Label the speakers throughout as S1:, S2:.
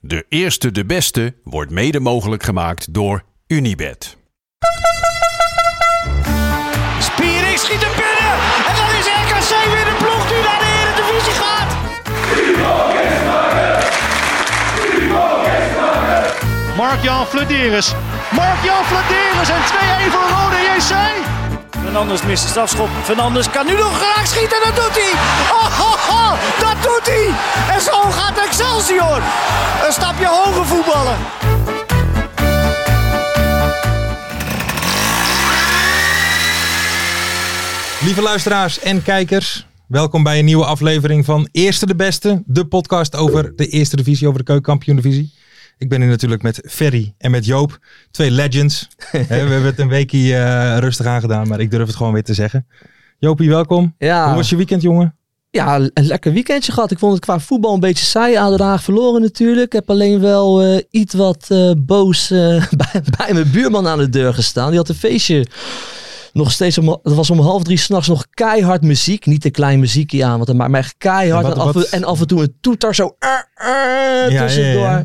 S1: De eerste de beste wordt mede mogelijk gemaakt door Unibed.
S2: Spiering schiet hem binnen. En dan is RKC weer de ploeg die naar de Eredivisie gaat. Mark-Jan Flederis. Mark-Jan Flederis en 2-1 voor Rode JC. Fernandes mist de strafschop. Fernandes kan nu nog graag schieten. Dat doet hij. Oh, oh, oh, dat doet hij. En zo gaat Excelsior. Een stapje hoger voetballen.
S3: Lieve luisteraars en kijkers, welkom bij een nieuwe aflevering van Eerste de Beste, de podcast over de Eerste Divisie, over de Keukenkampioen-divisie. Ik ben hier natuurlijk met Ferry en met Joop, twee legends. Hè, We hebben het een weekje eh, rustig aangedaan, maar ik durf het gewoon weer te zeggen. Joopie, welkom.
S4: Ja.
S3: Hoe was je weekend, jongen?
S4: Ja, een lekker weekendje gehad. Ik vond het qua voetbal een beetje saai. ADO Den Haag verloren natuurlijk. Ik heb alleen wel eh, iets wat eh, boos eh, bij, bij mijn buurman aan de deur gestaan. Die had een feestje. Nog steeds, om, het was om half drie s'nachts nog keihard muziek. Niet te klein muziekje aan, want dat maakt mij echt keihard.
S3: En
S4: En,
S3: wat-
S4: af, en-
S3: wat-
S4: en af en toe een toeter zo eh, eh,
S3: Ja,
S4: tussendoor.
S3: ja, ja.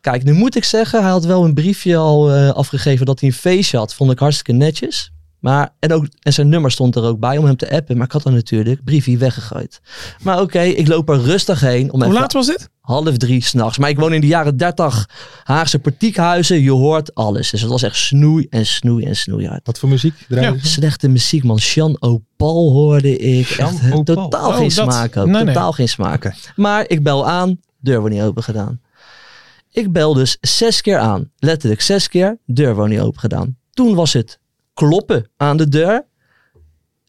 S4: Kijk, nu moet ik zeggen, hij had wel een briefje al eh, afgegeven dat hij een feestje had. Vond ik hartstikke netjes. Maar, en, ook, en zijn nummer stond er ook bij om hem te appen. Maar ik had dan natuurlijk briefje weggegooid. Maar oké, ik loop er rustig heen. Om
S5: Hoe
S4: even
S5: laat was dit?
S4: half drie s'nachts. Maar ik woon in de jaren dertig. Haagse partiekhuizen, je hoort alles. Dus het was echt snoei en snoei en snoeihard.
S3: Wat voor muziek draaide
S5: Mhm.
S3: ze?
S4: Slechte muziek, man. Sean Opal hoorde ik.
S3: Sean
S4: echt, hè,
S3: Opal.
S4: Totaal
S5: Oh,
S4: geen
S5: dat-
S4: smaak ook.
S5: nee, nee.
S4: Totaal geen smaak.
S3: Oké.
S4: Maar ik bel aan, deur wordt niet open gedaan. Ik bel dus zes keer aan. Letterlijk zes keer, deur wordt niet open gedaan. Toen was het kloppen aan de deur.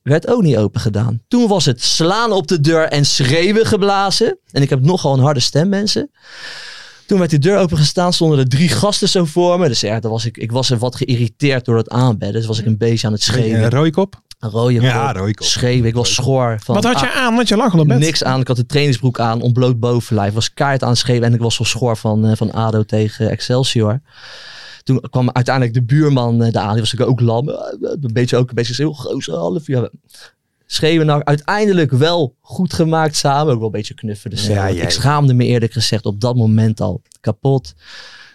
S4: Werd ook niet open gedaan. Toen was het slaan op de deur en schreeuwen geblazen. En ik heb nogal een harde stem, mensen. Toen werd die deur opengestaan, stonden er drie gasten zo voor me. Dus ja, dat was ik, ik was er wat geïrriteerd door dat aanbedden. Dus was ik een beetje aan het
S3: Eh,
S4: schreeuwen.
S3: Rooikop?
S4: Een rode
S3: Ja,
S4: kop,
S3: rode kop.
S4: Schreeuwen, ik was schor. Van,
S5: Wat had
S4: ah,
S5: je aan? Want je lag al op bed.
S4: Niks aan. Ik had de trainingsbroek aan, ontbloot bovenlijf. Was kaart aan het schelen en ik was zo schor van, eh, van ADO tegen Excelsior. Toen kwam uiteindelijk de buurman eh, daar aan. Die was natuurlijk ook lam. Eh, Een beetje ook een beetje heel groot. Half uur. Schreeuwen nou uiteindelijk wel goed gemaakt samen. Ook wel een beetje knuffelen. Dus,
S3: Ja, ja, ja.
S4: Ik schaamde me eerlijk gezegd op dat moment al kapot.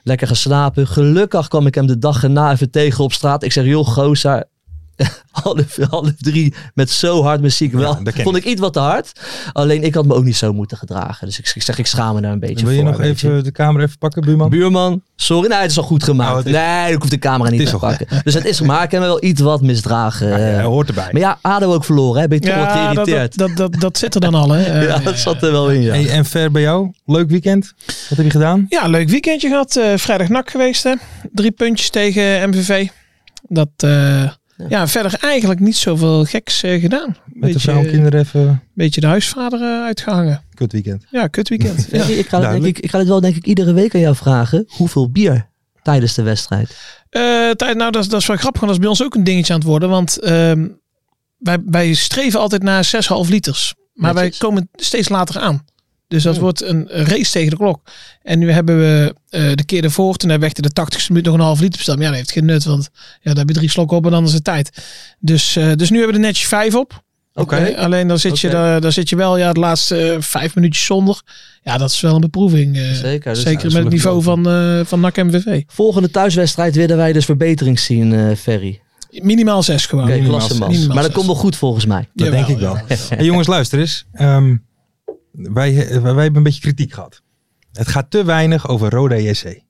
S4: Lekker geslapen. Gelukkig kwam ik hem de dag erna even tegen op straat. Ik zeg, joh gozer, half, half drie met zo hard muziek. Wel,
S3: dat ken
S4: vond ik iets wat te hard. Alleen ik had me ook niet zo moeten gedragen. Dus ik, ik zeg, ik schaam me daar een beetje
S3: Wil je
S4: voor.
S3: nog
S4: weet je.
S3: even de camera even pakken, buurman?
S4: Buurman, sorry. Nee, het is al goed gemaakt.
S3: Nou, het is-
S4: nee, ik hoef de camera
S3: Het
S4: niet
S3: is
S4: te
S3: al goed.
S4: pakken. Dus het is gemaakt. Ik heb me wel iets wat misdragen.
S3: Ja,
S4: eh.
S3: ja, hoort erbij.
S4: maar ja, ADO ook verloren. Hè? Ben je toch wat
S5: Ja, dat,
S4: geïrriteerd?
S5: dat, dat, dat, dat zit er dan al. Hè? Eh,
S4: ja, dat zat er wel in, ja.
S3: Hey, en ver bij jou? Leuk weekend? Wat heb je gedaan?
S5: ja, leuk weekendje gehad. eh, vrijdag nak geweest. Hè? Drie puntjes tegen MVV. Dat, eh, ja. verder eigenlijk niet zoveel geks eh, gedaan.
S3: Met de
S5: beetje,
S3: vrouw en kinderen even
S5: beetje de huisvader eh, uitgehangen.
S3: kut weekend.
S5: Ja, kut weekend. ja.
S4: Ferry, ik, ga het, denk
S3: duidelijk.
S4: ik, ik ga het wel denk ik iedere week aan jou vragen. Hoeveel bier tijdens de wedstrijd?
S5: Eh, tijd, nou, dat, is- dat is wel grappig. want Dat is bij ons ook een dingetje aan het worden. Want ehm, wij, wij streven altijd naar 6,5 liters. Maar
S4: Netjes. Hmm.
S5: wij komen steeds later aan. Dus dat wordt een race tegen de klok. En nu hebben we eh, de keer daarvoor, toen hebben we echt in de 80ste minuut nog een half liter besteld. Maar ja, dat heeft geen nut, want ja, daar heb je drie slokken op en dan is het tijd. Dus, eh, dus nu hebben we er netjes vijf op.
S4: Oké.
S5: Eh, alleen dan zit, je,
S4: Oké.
S5: daar, daar zit je wel ja, de laatste eh, vijf minuutjes zonder. Ja, dat is wel een beproeving. eh,
S4: Zeker, dus-
S5: zeker
S4: ja, dat
S5: met het niveau van, eh van NAC MVV.
S4: Volgende thuiswedstrijd willen wij dus verbetering zien, eh, Ferry.
S5: Minimaal zes gewoon.
S4: Oké,
S3: Minimaal
S4: klasse man.
S5: zes. Minimaal
S4: Maar dat
S5: zes.
S4: komt wel goed volgens mij.
S3: Dat
S5: Jawel,
S3: denk ik wel.
S5: ja.
S3: Hey, jongens, luister eens. Ehm, wij, eh, wij hebben een beetje kritiek gehad. Het gaat te weinig over Roda JC.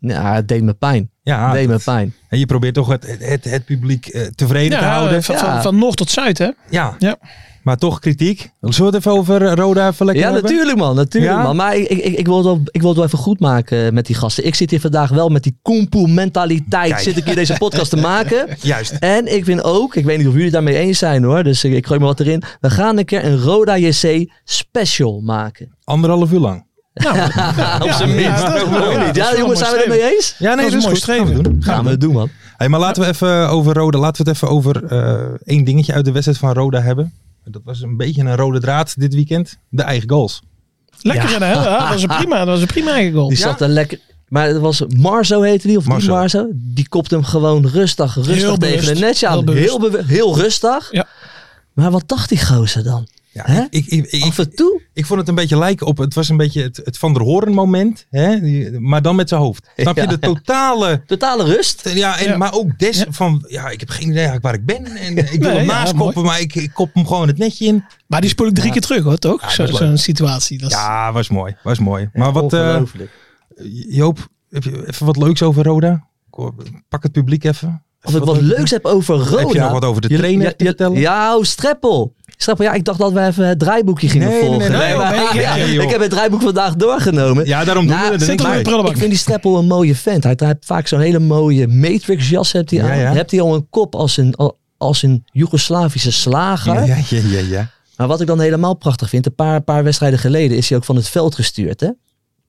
S4: Nou, het deed me pijn.
S3: Ja,
S4: Het deed me
S3: Ah, dat-
S4: pijn.
S3: en je probeert toch het, het, het, het publiek eh, tevreden te houden.
S5: van,
S4: ja.
S5: van, van noord tot zuid, hè?
S3: Ja.
S5: Ja.
S3: maar toch kritiek. Zullen we het even over eh, Roda even lekker
S4: Ja,
S3: hebben?
S4: natuurlijk man, natuurlijk
S3: Ja?
S4: man. Maar ik, ik, ik, ik wil het wel, ik wil het wel even goed maken eh, met die gasten. Ik zit hier vandaag wel met die kumpoe mentaliteit
S3: Kijk.
S4: zit ik hier deze podcast te maken.
S3: Juist.
S4: En ik vind ook, ik weet niet of jullie daarmee eens zijn hoor, dus ik, ik gooi me wat erin. We gaan een keer een Roda JC special maken.
S3: Anderhalf uur lang.
S4: Op zijn minst.
S5: ja, dat is mooi.
S4: Ja,
S5: Ja, dat is wel
S4: jongens, zijn we
S5: mooi
S4: het mee eens?
S3: Ja,
S5: Dat is mooi streven.
S3: Gaan we doen.
S4: Gaan we het doen man.
S3: Hey, maar laten we even over Roda, laten we het even over eh, één dingetje uit de wedstrijd van Roda hebben. Dat was een beetje een rode draad dit weekend. De eigen goals.
S5: Lekker, hè? Ja, dat was een prima, dat was een prima eigen goal.
S4: Die zat er lekker. Maar het was Marzo heette die, of
S3: Marzo.
S4: die Marzo. Die kopte hem gewoon rustig, rustig
S5: Heel
S4: tegen
S5: bewust.
S4: een netje aan.
S5: Heel
S4: Heel,
S5: bewust.
S4: bewe- heel rustig.
S5: Ja.
S4: Maar wat dacht die gozer dan? Hè?
S3: Ja, ik, ik, ik,
S4: Af
S3: ik,
S4: en toe?
S3: ik vond het een beetje lijken op, het was een beetje het, het Van der Horen moment, hè? Die- maar dan met zijn hoofd. Snap je?
S4: Ja.
S3: De totale...
S4: Totale rust.
S3: Ja, en,
S5: Ja.
S3: maar ook des
S5: Ja.
S3: van, ja, ik heb geen idee eigenlijk waar ik ben. En eh, ik wil
S5: Nee,
S3: hem
S5: ja,
S3: naaskoppen, maar ik, ik kop hem gewoon het netje in.
S5: Maar die spoel ik drie keer terug, hoor, toch?
S3: Ja,
S5: Zo-
S3: dat is leuk.
S5: Zo'n situatie. Dat is-
S3: Ja, was mooi. Was mooi. Maar wat, eh,
S4: Ongelooflijk.
S3: Joop, heb je even wat leuks over Roda? Kom, Pak het publiek even. Even
S4: Of ik wat leuks heb over Roda.
S3: Heb je nog wat over de
S4: Jullie-
S3: trainer
S4: ja,
S3: te
S4: ja,
S3: vertellen?
S4: Ja, oh, Streppel. Streppel, ja, ik dacht dat we even het draaiboekje gingen
S3: Nee, nee,
S4: volgen.
S3: nee, nee,
S4: maar-
S3: joh, nee, nee, joh.
S4: ik heb het draaiboek vandaag doorgenomen.
S3: Ja, daarom doen
S4: Nou,
S3: we het.
S4: zit
S3: denk
S5: er
S3: ik bij.
S5: weer prullenbak.
S4: Ik vind die Streppel een mooie vent. Hij heeft vaak zo'n hele mooie Matrix jas hebt hij
S3: Ja,
S4: aan.
S3: ja.
S4: Hebt hij al een kop als een, al- als een Joegoslavische slager.
S3: Ja, ja, ja, ja, ja.
S4: Maar wat ik dan helemaal prachtig vind. Een paar, paar wedstrijden geleden is hij ook van het veld gestuurd. Hè?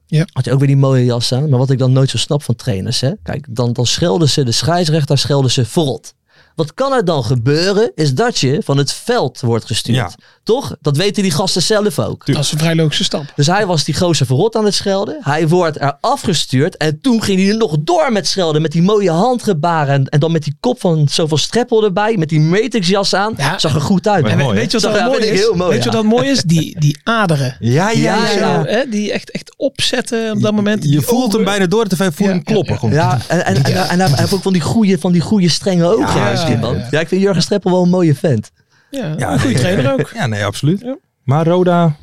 S5: Ja.
S4: Had hij ook weer die mooie jas aan. Maar wat ik dan nooit zo snap van trainers. Hè? Kijk, dan, dan schelden ze de scheidsrechter schelden ze verrot. Wat kan er dan gebeuren is dat je van het veld wordt gestuurd.
S3: Ja.
S4: Toch? Dat weten die gasten zelf ook.
S5: Dat is een vrij logische stap.
S4: Dus hij was die gozer verrot aan het schelden. Hij wordt er afgestuurd. En toen ging hij er nog door met schelden. Met die mooie handgebaren. En, en dan met die kop van zoveel streppel erbij. Met die matrixjas aan.
S5: Ja.
S4: Zag er goed uit.
S3: Maar
S5: En
S4: man.
S5: we-
S3: mooi,
S5: weet je
S4: hè?
S5: wat
S4: Dat
S5: dat
S4: vind
S5: mooi
S4: ik
S5: is?
S4: heel mooi,
S5: Weet je
S4: ja.
S5: wat dat mooi is? Die, die aderen.
S3: Ja, ja, ja.
S4: Ja,
S5: Zo, hè? Die echt, echt opzetten op dat moment.
S3: Je voelt hem bijna door te veel voelen
S5: Ja.
S3: kloppen. gewoon.
S4: Ja, en, en, en, en hij heeft ook van die goede, van die goede strenge ogen.
S5: Ja,
S4: Ja,
S5: ja,
S4: man.
S5: ja.
S4: ja, ik vind Jurgen Streppel wel een mooie vent.
S5: Ja,
S3: Ja,
S5: een goede
S3: nee.
S5: trainer ook. Oh.
S3: Ja, nee, absoluut.
S5: Ja.
S3: Maar Roda,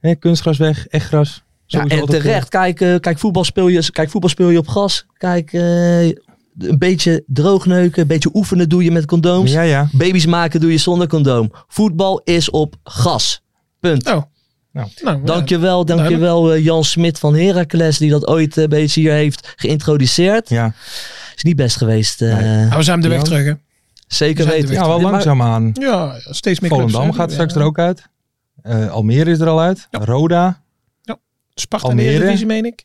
S3: hè, kunstgras weg, echt gras.
S4: Ja,
S3: sowieso
S4: en
S3: altijd
S4: terecht, kijk, eh, kijk, voetbal speel je, kijk, voetbal speel je op gas. Kijk, eh, een beetje droogneuken, een beetje oefenen doe je met
S3: voor.
S4: condooms.
S3: Ja, ja.
S4: Baby's maken doe je zonder condoom. Voetbal is op gas. Punt.
S5: Nou,
S3: Nou.
S5: nou, ja.
S4: Dankjewel, dankjewel eh, Jan Smit van Heracles, die dat ooit eh, een beetje hier heeft geïntroduceerd.
S3: Ja,
S4: Is niet best geweest. eh,
S5: Nou, we zijn de weg
S3: Jan.
S5: terug, hè?
S4: Zeker
S5: zijn er
S4: weten.
S5: weer.
S3: ja wel
S4: Maar-
S3: langzaamaan.
S5: Ja, steeds meer clubs.
S3: Volendam
S5: hè?
S3: gaat
S5: Ja.
S3: straks er ook uit. Eh, Almere is er al uit. Roda.
S5: Sparta in de
S3: Almere.
S5: Eredivisie, meen ik.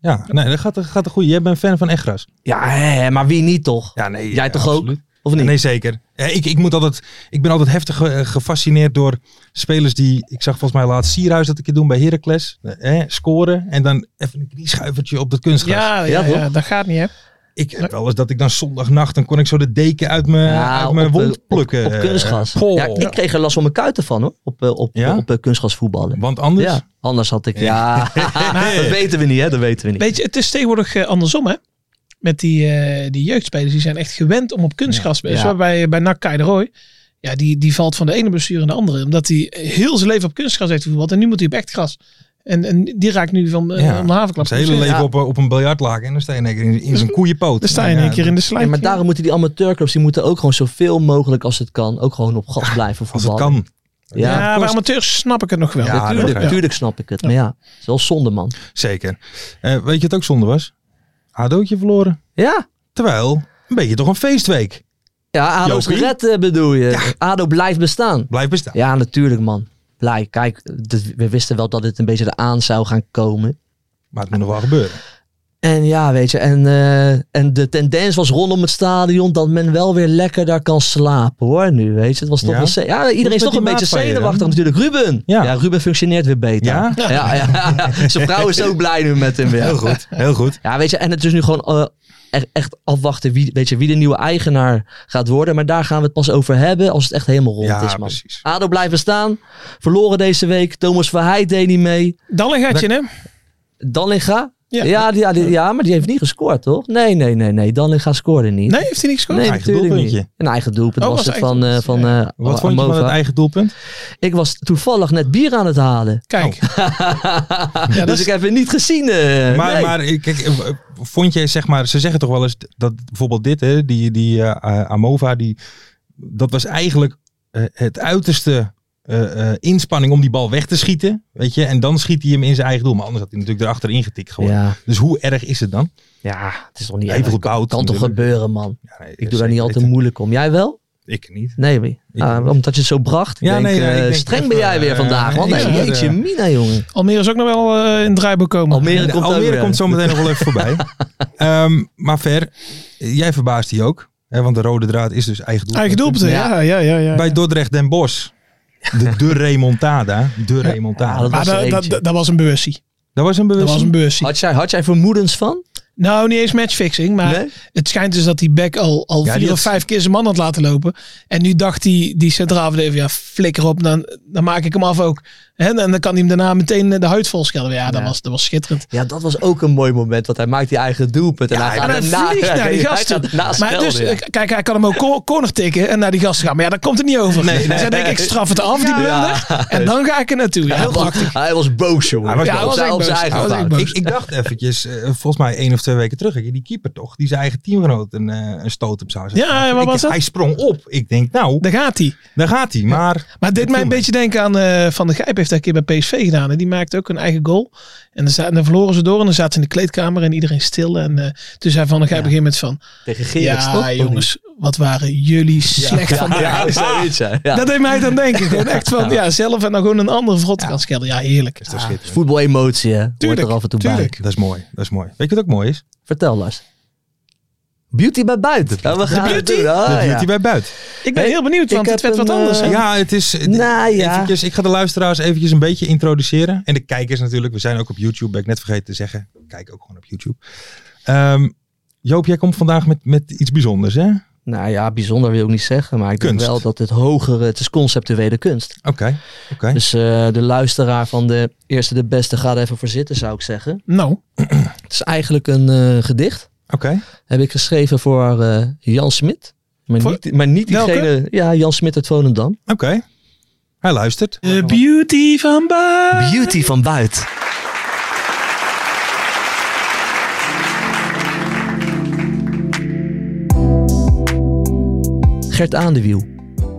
S3: Ja, nee, dat gaat, dat gaat een goede. Jij bent fan van echt gras.
S4: Ja, hè, maar wie niet toch?
S3: Ja, nee.
S4: Jij toch ook? Of niet?
S3: Nee, zeker. Ja, ik, ik, moet altijd, ik ben altijd heftig eh, gefascineerd door spelers die... Ik zag volgens mij laatst Sierhuis dat ik het doen bij Heracles. Eh, scoren en dan even een knieschuivertje op dat kunstgras.
S5: Ja, ja,
S4: Ja, toch?
S5: ja, dat gaat niet, hè?
S3: Ik heb wel eens dat ik dan zondagnacht... dan kon ik zo de deken uit mijn,
S4: Ja,
S3: uit mijn
S4: op, eh,
S3: wond
S4: op-
S3: plukken.
S4: Op, kunstgas.
S3: Eh, goh.
S4: Ja, ik kreeg er last van mijn kuiten van hoor. Op, eh, op,
S3: Ja?
S4: op eh, kunstgas voetballen.
S3: Want anders...
S4: Ja, anders had ik. Ja, dat weten we niet, hè? Dat weten we niet.
S5: Weet je, het is tegenwoordig eh, andersom, hè? Met die, eh, die jeugdspelers, die zijn echt gewend om op kunstgras te
S4: Ja.
S5: spelen. Bij, bij NAC Kai de Roy, ja, die, die valt van de ene blessure in de andere. Omdat hij heel zijn leven op kunstgras heeft gevoeld. En nu moet hij op echt gras. En, en die raakt nu van eh,
S3: Ja,
S5: om de havenklap.
S3: Zijn hele
S5: geblesseerd.
S3: leven op, op een biljartlaken en dan sta je in één keer in, in zijn koeienpoot. Nou
S5: Dan sta je in één
S3: Ja,
S5: keer in de
S4: Ja,
S5: slijm.
S4: maar daarom moeten die amateurclubs die moeten ook gewoon zoveel mogelijk als het kan. Ook gewoon op gas blijven
S3: Als het
S4: voetballen.
S3: kan.
S5: ja,
S4: Ja,
S5: bij
S3: kost-
S5: amateurs snap ik het nog wel.
S3: Ja, dat
S4: natuurlijk,
S3: begrijp ik.
S4: natuurlijk snap ik het. Maar ja, het is wel zonde man.
S3: Zeker. Eh, weet je wat ook zonde was? Adootje verloren.
S4: Ja.
S3: Terwijl, een beetje toch een feestweek.
S4: Ja, ADO is
S3: Jopie?
S4: gered eh, bedoel je. ADO blijft bestaan.
S3: Blijf bestaan.
S4: Ja, natuurlijk man. Blij. Kijk, dit- we wisten wel dat dit een beetje eraan zou gaan komen.
S3: Maar het moet nog wel gebeuren.
S4: En ja, weet je, en, eh, en de tendens was rondom het stadion dat men wel weer lekker daar kan slapen hoor. Nu, weet je, het was toch
S3: Ja?
S4: wel ze- Ja,
S3: Hoe
S4: iedereen
S3: is
S4: is
S3: het
S4: toch een
S3: met
S4: beetje
S3: die maat van je dan?
S4: zenuwachtig natuurlijk. Ruben!
S3: Ja.
S4: Ja. Ruben functioneert weer beter.
S3: Ja?
S4: Ja, ja, ja. Zijn vrouw is ook blij nu met hem weer.
S3: goed. Heel goed.
S4: Ja, weet je, en het is nu gewoon eh, echt, echt afwachten wie, weet je, wie de nieuwe eigenaar gaat worden. Maar daar gaan we het pas over hebben als het echt helemaal rond
S3: Ja,
S4: is, man.
S3: precies.
S4: Ado blijven staan. Verloren deze week. Thomas Verheid deed niet mee.
S5: Dan gaat je, hè?
S4: Dallinga
S5: Ja.
S4: Ja, die, ja, die- ja, maar die heeft niet gescoord, toch? Nee, nee, nee, nee. Dallinga scoorde niet.
S5: Nee, heeft hij niks gescoord?
S4: Nee,
S3: Eigen
S4: natuurlijk
S3: doelpuntje.
S4: niet. Een eigen doelpunt
S5: Oh,
S4: was
S5: was
S4: het
S5: eigen
S4: van, eh,
S5: doelpunt.
S4: van eh
S3: Wat vond je van
S4: Amova.
S3: het eigen doelpunt?
S4: Ik was toevallig net bier aan het halen.
S5: Kijk. ja, dat
S4: dus
S5: is,
S4: ik heb het niet gezien. eh,
S3: maar,
S4: nee.
S3: maar eh, kijk, eh, vond jij zeg maar, ze zeggen toch wel eens dat bijvoorbeeld dit, hè, die, die eh, Amova, die, dat was eigenlijk eh, het uiterste eh, eh, inspanning om die bal weg te schieten, weet je, en dan schiet hij hem in zijn eigen doel, maar anders had hij natuurlijk erachter ingetikt gewoon.
S4: ja.
S3: Dus hoe erg is het dan?
S4: ja, het is toch niet
S3: Hij heeft
S4: erg.
S3: goed behoud
S4: Kan toch
S3: natuurlijk. Dus
S4: gebeuren, man.
S3: Ja, nee,
S4: Ik doe
S3: zeker
S4: daar niet altijd
S3: weten.
S4: moeilijk om. Jij wel?
S3: Ik niet.
S4: Nee, wie?
S3: Ik
S4: Ah,
S3: niet.
S4: omdat je het zo bracht.
S3: Ja,
S4: Ja, denk,
S3: nee, ja,
S4: eh,
S3: ik denk
S4: streng
S3: echt,
S4: ben jij
S3: eh,
S4: weer vandaag, man.
S3: ik
S4: Nee,
S3: zou het,
S4: jeetje,
S3: eh,
S4: mina, jongen.
S5: Almere is ook nog wel eh, in het draaiboek komen.
S4: Almere
S3: Almere
S4: komt
S3: komt,
S4: ook weer.
S3: zo meteen nog wel even voorbij. Ehm, maar Ver, jij verbaast die ook. Hè, want de rode draad is dus eigen doelpunt.
S5: Eigen doelpunten, ja. ja, ja, ja,
S3: Bij Dordrecht Den Bosch. De, de remontada. De
S4: Ja,
S3: remontada.
S4: dat-
S5: Maar
S4: was er
S5: Ah, dat, dat,
S4: eentje.
S5: dat, dat was een beursie.
S3: dat was een
S5: Dat was
S3: bewustzijn.
S5: een beursie.
S4: Had jij, had jij vermoedens van?
S5: Nou, niet eens matchfixing, maar
S4: Nee?
S5: het schijnt dus dat die back al, al
S3: Ja, die
S5: vier
S3: had-
S5: of vijf keer zijn man had laten lopen. En nu dacht die, die centraal verdediger, ja flikker op, dan, dan maak ik hem af ook. Hè, en dan kan hij hem daarna meteen eh, de huid vol schelden. Ja, dat,
S4: Ja.
S5: Was, dat was schitterend.
S4: Ja, dat was ook een mooi moment. Want hij maakt die eigen doelpunt. En hij gaat
S5: En hij
S4: erna-
S5: vliegt naar die
S4: hij
S5: gast toe.
S4: gaat erna
S5: Maar
S4: schelden,
S5: dus,
S4: ja.
S5: eh, kijk, hij kan hem ook cor- corner tikken en naar die gast gaan. Maar ja, daar komt het niet over.
S3: Nee,
S5: Nee,
S3: nee.
S5: Zij denken, ik straf het af, die blunder. En dan ga ik er naartoe. Ja, heel
S4: hij, was,
S5: prachtig.
S4: hij was boos, jongen.
S3: Hij was boos.
S4: op zijn-
S5: Hij was
S4: op zijn
S5: echt
S4: eigen
S5: boos. Hij was
S4: fout.
S5: echt
S3: Ik, ik dacht eventjes, eh, volgens mij één of twee weken terug, hè, die keeper toch, die zijn eigen teamgenoot een, eh, een stoot op zou zetten.
S5: Ja, en wat
S3: Ik-
S5: was dat?
S3: Hij sprong op. Ik denk, nou,
S5: Daar gaat hij.
S3: daar gaat hij. Maar
S5: Maar het deed
S3: Dat
S5: mij
S3: viel
S5: een
S3: mee.
S5: beetje denken aan eh, Van de Gijp. Heeft dat een keer bij PSV gedaan. En die maakte ook een eigen goal. En dan, za- en dan verloren ze door. En dan zaten ze in de kleedkamer en iedereen stil. En eh, toen zei Van de Gijp op een gegeven moment van...
S4: Tegen Gerrit, toch?
S5: Ja, jongens, wat waren jullie slecht
S4: Ja,
S5: vandaag.
S4: ja, zoiets, ja. Ja.
S5: Dat deed mij dan denken. Gewoon echt van, ja, zelf en dan gewoon een andere verrot gaan schelden. Ja, heerlijk.
S3: is toch schitterend.
S4: Voetbal-emotie, hè? Hoort
S5: Tuurlijk,
S4: er af en toe bij.
S5: tuurlijk.
S3: Dat is mooi. Dat is mooi. Weet je wat ook mooi is?
S4: Vertel, Lars. Beauty bij buiten. Ja, we gaan het
S5: beauty?
S4: doen. Ah,
S3: Dat
S4: ja.
S3: hij bij buiten.
S5: Ik ben
S4: Hey,
S5: heel benieuwd,
S4: ik
S5: want het
S4: heb
S5: werd wat
S4: een,
S5: anders. hè?
S4: eh,
S3: Ja, het is.
S4: Nou ja.
S3: Eventjes, ik ga de luisteraars eventjes een beetje introduceren. En de kijkers natuurlijk. We zijn ook op YouTube. Ben ik net vergeten te zeggen. Kijk ook gewoon op YouTube. Ehm, Joop, jij komt vandaag met, met iets bijzonders, hè? Oké.
S4: Nou ja, bijzonder wil ik niet zeggen. Maar ik
S3: Kunst.
S4: denk wel dat het hogere... Het is conceptuele kunst.
S3: Oké.
S4: Dus eh, de luisteraar van de eerste de beste gaat even voor zitten, zou ik zeggen.
S5: Nou,
S4: Het is eigenlijk een eh, gedicht.
S3: Oké.
S4: Heb ik geschreven voor eh, Jan Smit. Maar,
S5: Voor-
S4: niet, maar niet
S5: Welke?
S4: diegene... Ja, Jan Smit uit Volendam.
S3: Oké. Hij luistert.
S5: de beauty van Baar.
S4: Beauty van buiten. Gert Aan de Wiel,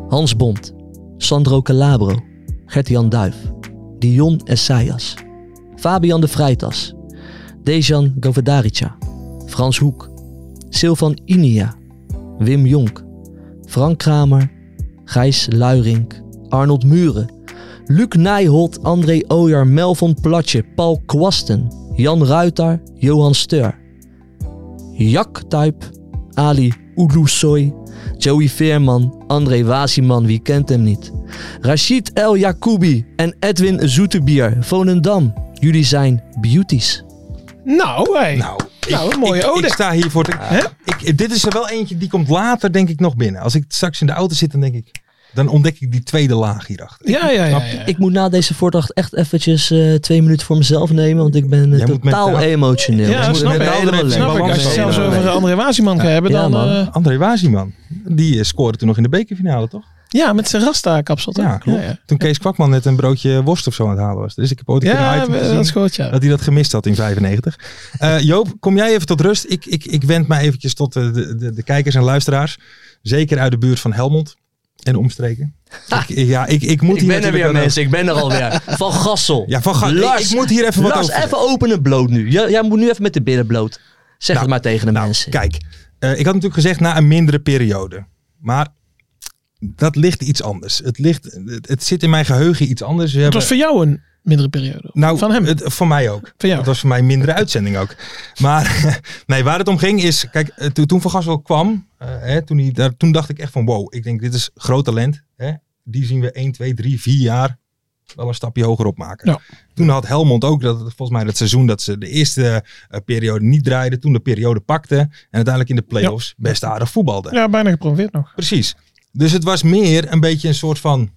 S4: Hans Bond, Sandro Calabro, Gert-Jan Duif, Dion Essayas, Fabian de Vrijtas, Dejan Govardarica, Frans Hoek, Silvan Inia, Wim Jonk, Frank Kramer, Gijs Luiring, Arnold Muren, Luc Nijholt, André Ooyer, Melvon Platje, Paul Kwasten, Jan Ruiter, Johan Steur, Jack Tuyp, Ali Oudousoy, Joey Veerman, André Waziman, wie kent hem niet? Rashid El Jacoubi en Edwin Zoetebier, Volendam. Jullie zijn beauties.
S5: Nou, hey.
S3: Nou,
S5: Nou, een mooie
S3: ik,
S5: ode. Ah.
S3: Ik sta hier voor.
S5: Hè?
S3: Ik, dit is er wel eentje die komt later, denk ik, nog binnen. Als ik straks in de auto zit, dan denk ik. Dan ontdek ik die tweede laag hierachter.
S5: Ja, ja, ja. ja.
S4: Ik moet na deze voordracht echt eventjes eh, twee minuten voor mezelf nemen, want ik ben eh,
S3: Jij moet met
S4: totaal
S3: de-
S4: emotioneel.
S5: Ja,
S4: Ik moet
S5: snap
S4: met
S5: ik.
S4: de
S3: Snap
S4: helemaal
S3: ik.
S4: leeg.
S5: Snap ik, als je het
S3: Nee,
S5: zelfs
S3: nee,
S5: over
S3: nee.
S5: André Waziman gaat hebben,
S4: Ja,
S5: dan...
S4: man.
S5: eh,
S3: André Waziman. Die eh, scoorde toen nog in de bekerfinale, toch?
S5: ja, met zijn rasta-kapsel. toch?
S3: Ja, klopt.
S5: Ja,
S3: Toen Kees Kwakman net een broodje worst of zo aan het halen was. Dus ik heb ooit een keer
S5: ja.
S3: een
S5: ja
S3: item
S5: we-
S3: gezien
S5: dat is goed, ja.
S3: dat hij dat gemist had in 95. Eh, Joop, kom jij even tot rust. Ik, ik, ik wend mij eventjes tot eh, de, de, de kijkers en luisteraars. Zeker uit de buurt van Helmond en omstreken. Ik, ja, ik, ik moet hier
S4: Ik ben er
S3: natuurlijk
S4: weer,
S3: wel-
S4: mensen. Ik ben er alweer. Van Gassel.
S3: Ja, van Gassel.
S4: Lars,
S3: Ik- ik moet hier even wat
S4: Lars,
S3: over zeggen.
S4: even openen bloot nu. Jij, jij moet nu even met de billen bloot. Zeg
S3: Nou,
S4: het maar tegen de mensen.
S3: Kijk, eh, ik had natuurlijk gezegd na een mindere periode. Maar dat ligt iets anders. Het, ligt, het, het zit in mijn geheugen iets anders. We
S5: Het
S3: hebben-
S5: was voor jou een mindere periode.
S3: Nou,
S5: van hem.
S3: Het, van mij ook.
S5: Van jou.
S3: Het was voor mij een mindere uitzending ook. Maar nee, waar het om ging is, kijk, eh, toen- toen Van Gastel kwam, eh, hè, toen, hij daar, toen dacht ik echt van wow, ik denk dit is groot talent. Hè? Die zien we 1, 2, 3, 4 jaar wel een stapje hoger opmaken.
S5: Ja.
S3: Toen had Helmond ook, dat, volgens mij dat seizoen dat ze de eerste eh, periode niet draaiden, toen de periode pakte en uiteindelijk in de play-offs best aardig voetbalden.
S5: ja, bijna gepromoveerd nog.
S3: Precies. Dus het was meer een beetje een soort van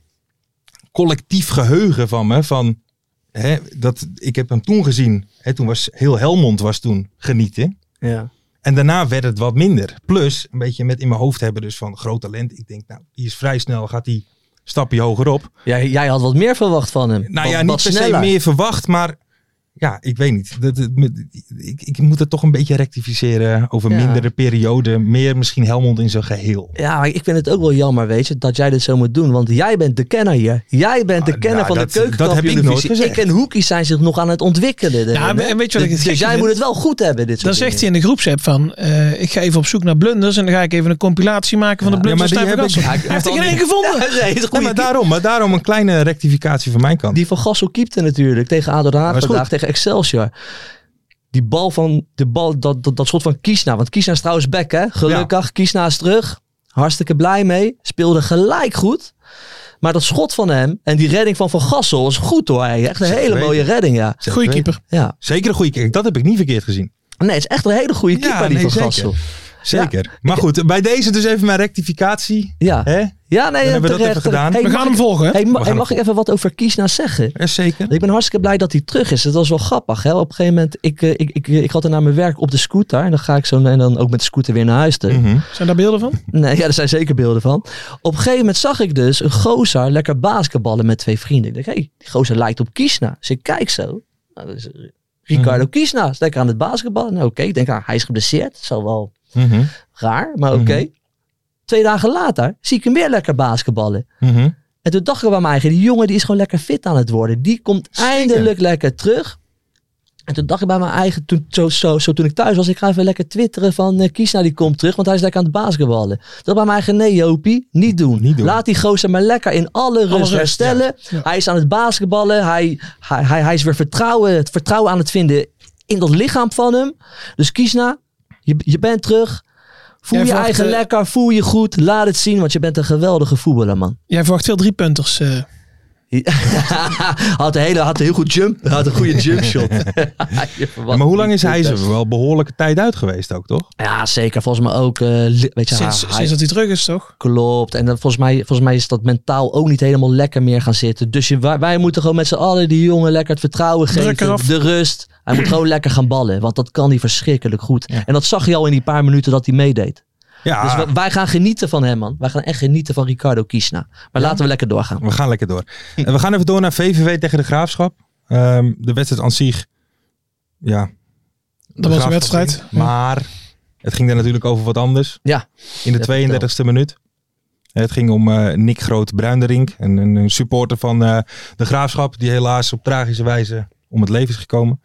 S3: collectief geheugen van me. Van hè, dat, ik heb hem toen gezien. Hè, toen was heel Helmond was toen genieten.
S4: Ja.
S3: En daarna werd het wat minder. Plus, een beetje met in mijn hoofd hebben dus van groot talent. Ik denk, nou, die is vrij snel, gaat die stapje hoger op.
S4: Jij, jij had wat meer verwacht van hem.
S3: Nou
S4: Wat-
S3: ja,
S4: wat
S3: niet per se
S4: sneller.
S3: meer verwacht, maar ja, ik weet niet. Dat, dat- met- ik, ik moet het toch een beetje rectificeren over
S4: Ja.
S3: mindere periode. Meer misschien Helmond in zijn geheel.
S4: Ja, maar ik vind het ook wel jammer, weet je, dat jij dit zo moet doen. Want jij bent de kenner hier. Jij bent de
S3: Ah,
S4: kenner
S3: nou,
S4: van
S3: dat-
S4: de keuken.
S3: dat heb ik nooit gezegd.
S4: Ik en Hoekie zijn zich nog aan het ontwikkelen.
S5: Ja,
S4: erin, hè.
S5: en weet je wat
S4: dus
S5: ik het
S4: dus
S5: gekke
S4: jij
S5: vind?
S4: moet het wel goed hebben, dit soort
S5: Dan zegt hij
S4: dingen.
S5: in de groepsapp van, eh, ik ga even op zoek naar blunders en dan ga ik even een compilatie maken van de
S3: Ja, maar
S5: blunders.
S3: die
S5: Ja, maar
S3: heb ik-
S5: Hij heeft er geen één gevonden.
S4: Ja, nee, is een
S3: Nee,
S4: goede
S3: maar
S4: keeper.
S3: daarom, maar daarom een kleine rectificatie van mijn kant.
S4: Die van Gassel keepte natuurlijk tegen ADO Den Haag
S3: Maar is
S4: vandaag,
S3: goed.
S4: tegen Excelsior. Die bal van, de bal, dat, dat, dat schot van Kiesna. Want Kiesna is trouwens back, hè? Gelukkig, Kiesna is terug. Hartstikke blij mee. Speelde gelijk goed. Maar dat schot van hem en die redding van Van Gassel is goed hoor. Hey. Echt een
S3: Zeker
S4: hele
S3: weten.
S4: mooie redding, ja.
S5: Goeie keeper.
S4: ja.
S3: Zeker een goede keeper. Dat heb ik niet verkeerd gezien.
S4: Nee, het is echt een hele goede
S3: Ja,
S4: keeper die
S3: nee,
S4: Van
S3: zeker.
S4: Gassel.
S3: Zeker. Maar goed, bij deze dus even mijn rectificatie.
S4: Ja,
S3: Hè?
S4: ja nee,
S3: hebben we dat
S4: terecht.
S3: even gedaan.
S4: Hey,
S5: We
S4: mag
S5: gaan hem
S4: ik-
S5: volgen. hè?
S4: hey, ma-
S3: gaan
S4: hey,
S3: hem
S4: mag ik even wat over Kiesna zeggen?
S3: Eh, Zeker.
S4: Ik ben hartstikke blij dat hij terug is. Dat was wel grappig. Hè? Op een gegeven moment, ik, eh, ik, ik, ik had er naar mijn werk op de scooter. En dan ga ik zo en dan ook met de scooter weer naar huis. terug.
S3: Mhm.
S5: Zijn daar beelden van?
S4: Nee, ja, er zijn zeker beelden van. Op een gegeven moment zag ik dus een gozer lekker basketballen met twee vrienden. Ik dacht, hé, die gozer lijkt op Kiesna. Dus ik kijk zo. Nou, dat is eh, Ricardo Kiesna is lekker aan het basketballen. Nou, oké. Ik denk, ah, hij is geblesseerd. Dat zal wel
S3: Mhm.
S4: raar, maar oké.
S3: Mhm.
S4: Twee dagen later zie ik hem weer lekker basketballen.
S3: Mhm.
S4: En toen dacht ik bij mij eigen, die jongen die is gewoon lekker fit aan het worden. Die komt
S3: Zeker.
S4: eindelijk lekker terug. En toen dacht ik bij mijn eigen, toen, zo, zo, zo toen ik thuis was, ik ga even lekker twitteren van eh Kiesna die komt terug, want hij is lekker aan het basketballen. Dat bij mijn eigen, nee Jopie, niet doen.
S3: Niet doen.
S4: Laat die gozer maar lekker in alle rust
S5: rust,
S4: herstellen. Hij is aan het basketballen, hij, hij, hij, hij is weer vertrouwen, het vertrouwen aan het vinden in dat lichaam van hem. Dus Kiesna, je, je bent terug. Voel
S5: Jij
S4: je
S5: verwacht,
S4: eigen
S5: eh,
S4: lekker, voel je goed, laat het zien, want je bent een geweldige voetballer man.
S5: Jij verwacht veel driepunters. eh.
S4: had, een hele, had een heel goed jump. Had een goede jumpshot.
S3: Ja, maar hoe lang is hij er wel behoorlijke tijd uit geweest ook, toch?
S4: Ja, zeker. Volgens mij ook. eh, li- weet je,
S5: sinds,
S4: hij,
S5: sinds dat hij terug is, toch?
S4: klopt. En dan, volgens, mij, volgens mij is dat mentaal ook niet helemaal lekker meer gaan zitten. Dus je, wij, wij moeten gewoon met z'n allen die jongen lekker het vertrouwen
S5: Druk eraf.
S4: geven. De rust. Hij moet gewoon lekker gaan ballen. Want dat kan hij verschrikkelijk goed. En dat zag je al in die paar minuten dat hij meedeed.
S3: Ja,
S4: Dus wij, wij gaan genieten van hem, man. Wij gaan echt genieten van Ricardo Kiesna. Maar laten we lekker doorgaan.
S3: we gaan lekker door.
S4: Hm.
S3: En we gaan even door naar VVV tegen de Graafschap. Ehm, de wedstrijd aan zich, ja. de
S5: was een
S3: Graafschap
S5: wedstrijd.
S3: ging. Maar het ging daar natuurlijk over wat anders.
S4: Ja.
S3: In de
S4: Ja,
S3: 32e minuut. Het ging om eh, Nick Groot-Bruinderink, een, een een supporter van eh, de Graafschap, die helaas op tragische wijze om het leven is gekomen.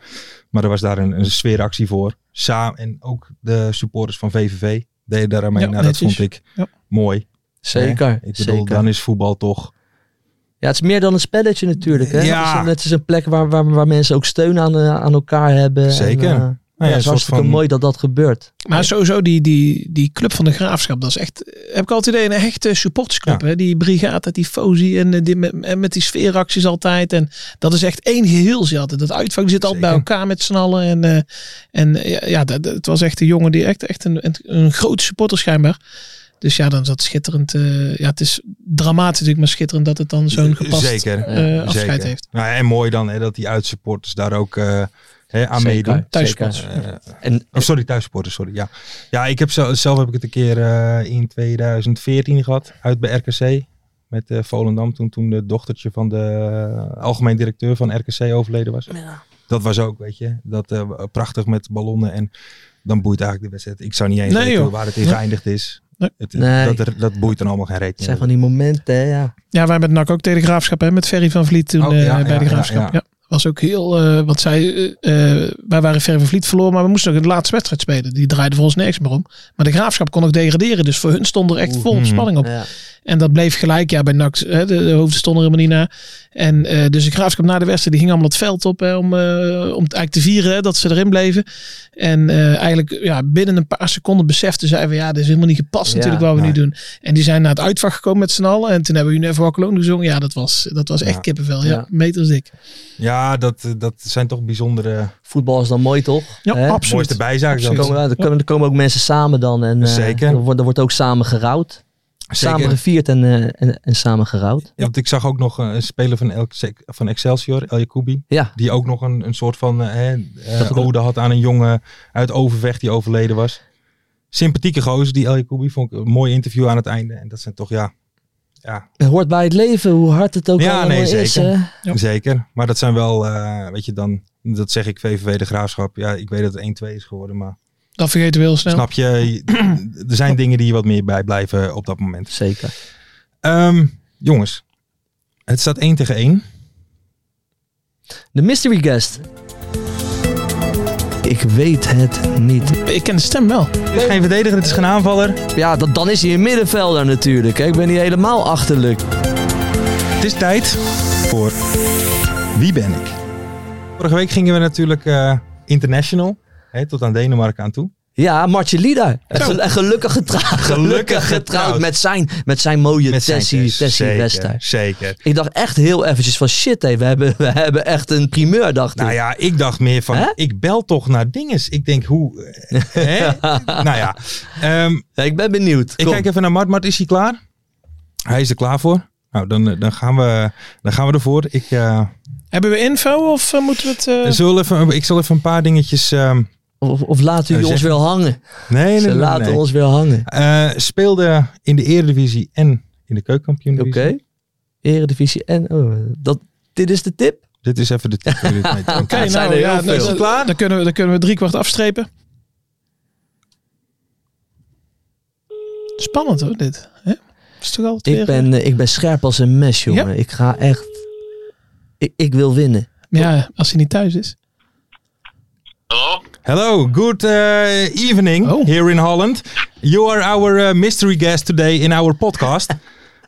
S3: Maar er was daar een, een sfeeractie voor. Samen en ook de supporters van VVV deden daar aan mee.
S5: Ja,
S3: nou, dat
S5: netjes.
S3: vond ik
S5: Ja.
S3: mooi.
S4: Zeker.
S3: Hè? Ik bedoel,
S4: zeker.
S3: dan is voetbal toch...
S4: Ja, het is meer dan een spelletje natuurlijk. Hè?
S3: Ja.
S4: Het, is een, het is een plek waar, waar, waar mensen ook steun aan, eh, aan elkaar hebben.
S3: Zeker.
S4: En, eh,
S3: Nou
S4: ja,
S3: een
S4: het is
S3: soort
S4: hartstikke
S3: van-
S4: mooi dat dat gebeurt.
S5: Maar sowieso, die, die, die club van de graafschap, dat is echt, heb ik altijd idee, een echte supportersclub.
S3: Ja.
S5: Hè? Die brigade, die fosie en, eh, die, met, en met die sfeeracties altijd. En dat is echt één geheel. Ze hadden dat uitvak zit altijd bij
S3: Zeker.
S5: elkaar met z'n allen. En, eh, en eh, ja, ja, dat, dat- het was echt een jongen die echt, echt een, een, een grote supporter schijnbaar. Dus ja, dan is dat schitterend. eh, ja, het is dramatisch natuurlijk, maar schitterend dat het dan zo'n gepast
S3: Zeker.
S5: eh, afscheid
S3: Zeker.
S5: heeft.
S3: Nou, en mooi dan hè, dat die uitsupporters daar ook eh, hè, aan
S4: Zeker,
S3: meedoen.
S4: zeker.
S3: Eh,
S4: En
S3: Oh, sorry, thuissupporters, sorry. Ja, ja ik heb zelf, zelf heb ik het een keer eh, in 2014 gehad, uit bij RKC. Met eh, Volendam, toen, toen de dochtertje van de eh, algemeen directeur van RKC overleden was. Dat was ook, weet je. Dat eh, prachtig met ballonnen en dan boeit eigenlijk de wedstrijd. Ik zou niet eens
S5: Nee,
S3: weten
S5: joh.
S3: waar het in
S5: Nee.
S3: geëindigd is.
S5: Nee.
S3: Het,
S4: Nee.
S3: dat, er- dat boeit dan allemaal geen reet
S4: het zijn van die momenten, hè, ja.
S5: Ja, wij met NAC ook tegen de graafschap, hè, met Ferry van Vliet toen
S3: Oh,
S5: eh,
S3: ja,
S5: bij
S3: ja,
S5: de
S3: ja,
S5: graafschap.
S3: ja.
S5: Ja, Was ook heel, eh, want zij, eh, eh, wij waren Ferry van Vliet verloren, maar we moesten ook de laatste wedstrijd spelen. Die draaide voor ons nergens meer om. Maar de graafschap kon ook degraderen, dus voor hun stond er echt vol op
S3: mhm.
S5: spanning op.
S4: ja.
S5: En dat bleef gelijk, ja, bij NAC, hè, de, de hoofden stonden er helemaal niet na. En eh, dus de graafschap na de wedstrijd, die ging allemaal het veld op hè, om, eh, om het eigenlijk te vieren hè, dat ze erin bleven. En eh, eigenlijk ja, binnen een paar seconden beseften zij van ja, dit is helemaal niet gepast
S4: Ja,
S5: natuurlijk wat we
S3: nee.
S5: nu doen. En die zijn naar het uitvak gekomen met z'n allen. En toen hebben we Never Walk Alone gezongen. Ja, dat was, dat was echt
S3: Ja.
S5: kippenvel. Ja,
S4: Ja.
S5: meters dik.
S3: Ja, dat, eh, dat zijn toch bijzondere,
S4: Voetbal is dan mooi, toch?
S5: Ja,
S4: Hè?
S5: absoluut.
S3: mooiste bijzaken.
S4: Dan
S3: dan.
S4: komen, er komen ook mensen samen dan. En, eh,
S3: Zeker.
S4: Er wordt, er wordt ook samen gerouwd. Samen gevierd en, eh, en, en samen gerouwd.
S3: Ja, want ik zag ook nog eh, een speler van, El van Excelsior, El Jacoubi.
S4: Ja,
S3: Die ook nog een, een soort van eh, hè, eh,
S4: Dat ook-
S3: ode had aan een jongen uit Overvecht die overleden was. Sympathieke gozer, die El Jacoubi. Vond ik een mooi interview aan het einde. En dat zijn toch, ja,
S4: het hoort bij het leven, hoe hard het ook
S3: Ja,
S4: allemaal
S3: nee,
S4: is.
S3: zeker.
S4: hè.
S5: Ja.
S3: zeker. Maar dat zijn wel, eh, weet je dan, dat zeg ik VVV de Graafschap. Ja, ik weet dat het 1-2 is geworden, maar
S5: Dat vergeten we heel snel.
S3: snap je, je- er zijn dingen die je wat meer bij blijven op dat moment.
S4: Zeker.
S3: Ehm, jongens, het staat 1 tegen 1.
S4: De mystery guest. Ik weet het niet.
S5: Ik ken de stem wel.
S3: Het is geen verdediger, het is geen aanvaller.
S4: Ja, dat, dan is hij een middenvelder natuurlijk. Hè. Ik ben niet helemaal achterlijk.
S3: Het is tijd voor Wie ben ik? Vorige week gingen we natuurlijk eh, international, hè, tot aan Denemarken aan toe.
S4: Ja, Martje Lida. En gel- en gelukkig getrouwd. Gelukkig getrouwd
S3: getrouwd.
S4: met zijn, met zijn mooie
S3: zijn
S4: Tessie,
S3: test.
S4: Tessie
S3: Zeker,
S4: Wester.
S3: Zeker.
S4: Ik dacht echt heel eventjes van shit, hé, we, hebben, we hebben echt een primeur, dacht
S3: Nou
S4: ik.
S3: ja, ik dacht meer van,
S4: Hè?
S3: ik bel toch naar dinges. Ik denk, hoe? eh, hè? nou ja, ehm,
S4: Ik ben benieuwd.
S3: ik
S4: Kom.
S3: kijk even naar Mart. Mart, is hij klaar? Hij is er klaar voor. Nou, dan, eh, dan, gaan, we, dan gaan we ervoor. Ik, eh,
S5: Hebben we info of eh, moeten we het... eh,
S3: zal even, ik zal even een paar dingetjes... ehm,
S4: Of, of laten
S3: Eh,
S4: jullie ons
S3: zeg-
S4: weer hangen.
S3: nee, nee,
S4: Ze
S3: nee,
S4: laten
S3: nee.
S4: ons weer hangen.
S3: Eh, speelde in de Eredivisie en in de
S4: Oké.
S3: Keukenkampioen.
S4: Eredivisie en... Oh, dat, dit is de tip?
S3: Dit is even de tip. voor dit moment.
S5: Oké,
S4: het zijn
S5: nou
S4: er heel
S5: ja,
S4: veel.
S5: nou, dan,
S3: Klaar?
S5: Dan kunnen we, dan kunnen we drie kwart afstrepen. Spannend hoor, dit. Hè? Is toch altijd
S4: Ik
S5: weer,
S4: ben, eh, ik ben scherp als een mes, jongen. Ik ga echt... Ik, ik wil winnen.
S5: eh, Ja, als hij niet thuis is.
S3: Hello, good eh, evening
S5: Oh.
S3: here in Holland. You are our eh, mystery guest today in our podcast.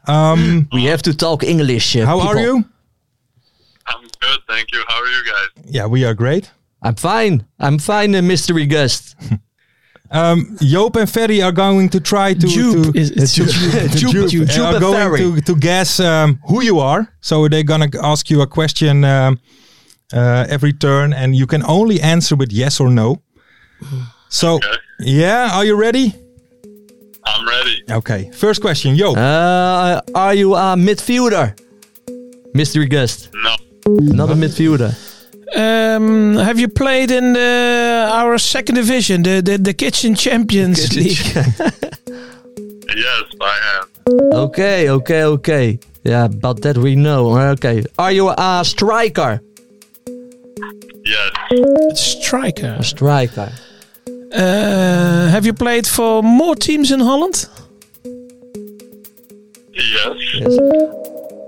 S3: Um,
S4: We have to talk English, eh,
S3: how
S4: people.
S3: are you?
S6: I'm good, thank you. How are you guys?
S3: Yeah, we are great.
S4: I'm fine. I'm fine, eh, mystery guest.
S3: Um, Joop and Ferry are going to try to
S5: Jupe
S3: to,
S5: is- it's
S3: Joop-
S5: Joep.
S3: Joop-
S4: Joep-
S3: Joop
S4: Joep
S3: are
S4: and
S3: going
S4: Ferry.
S3: to, to guess um, who you are. So they're gonna ask you a question um, uh, every turn, and you can only answer with yes or no. So yeah, are you ready?
S6: I'm ready.
S3: Okay. First question, Joop.
S4: Uh, are you a midfielder? Mystery guest.
S6: No,
S4: Not a midfielder.
S5: Ehm, have you played in the, our second division, the, the, the Kitchen Champions League?
S6: yes, I am.
S4: Okay, okay, okay. Yeah, about that we know. Okay. Are you a striker?
S6: Yes,
S5: Striker.
S4: Striker.
S5: Eh, have you played for more teams in Holland?
S6: yes,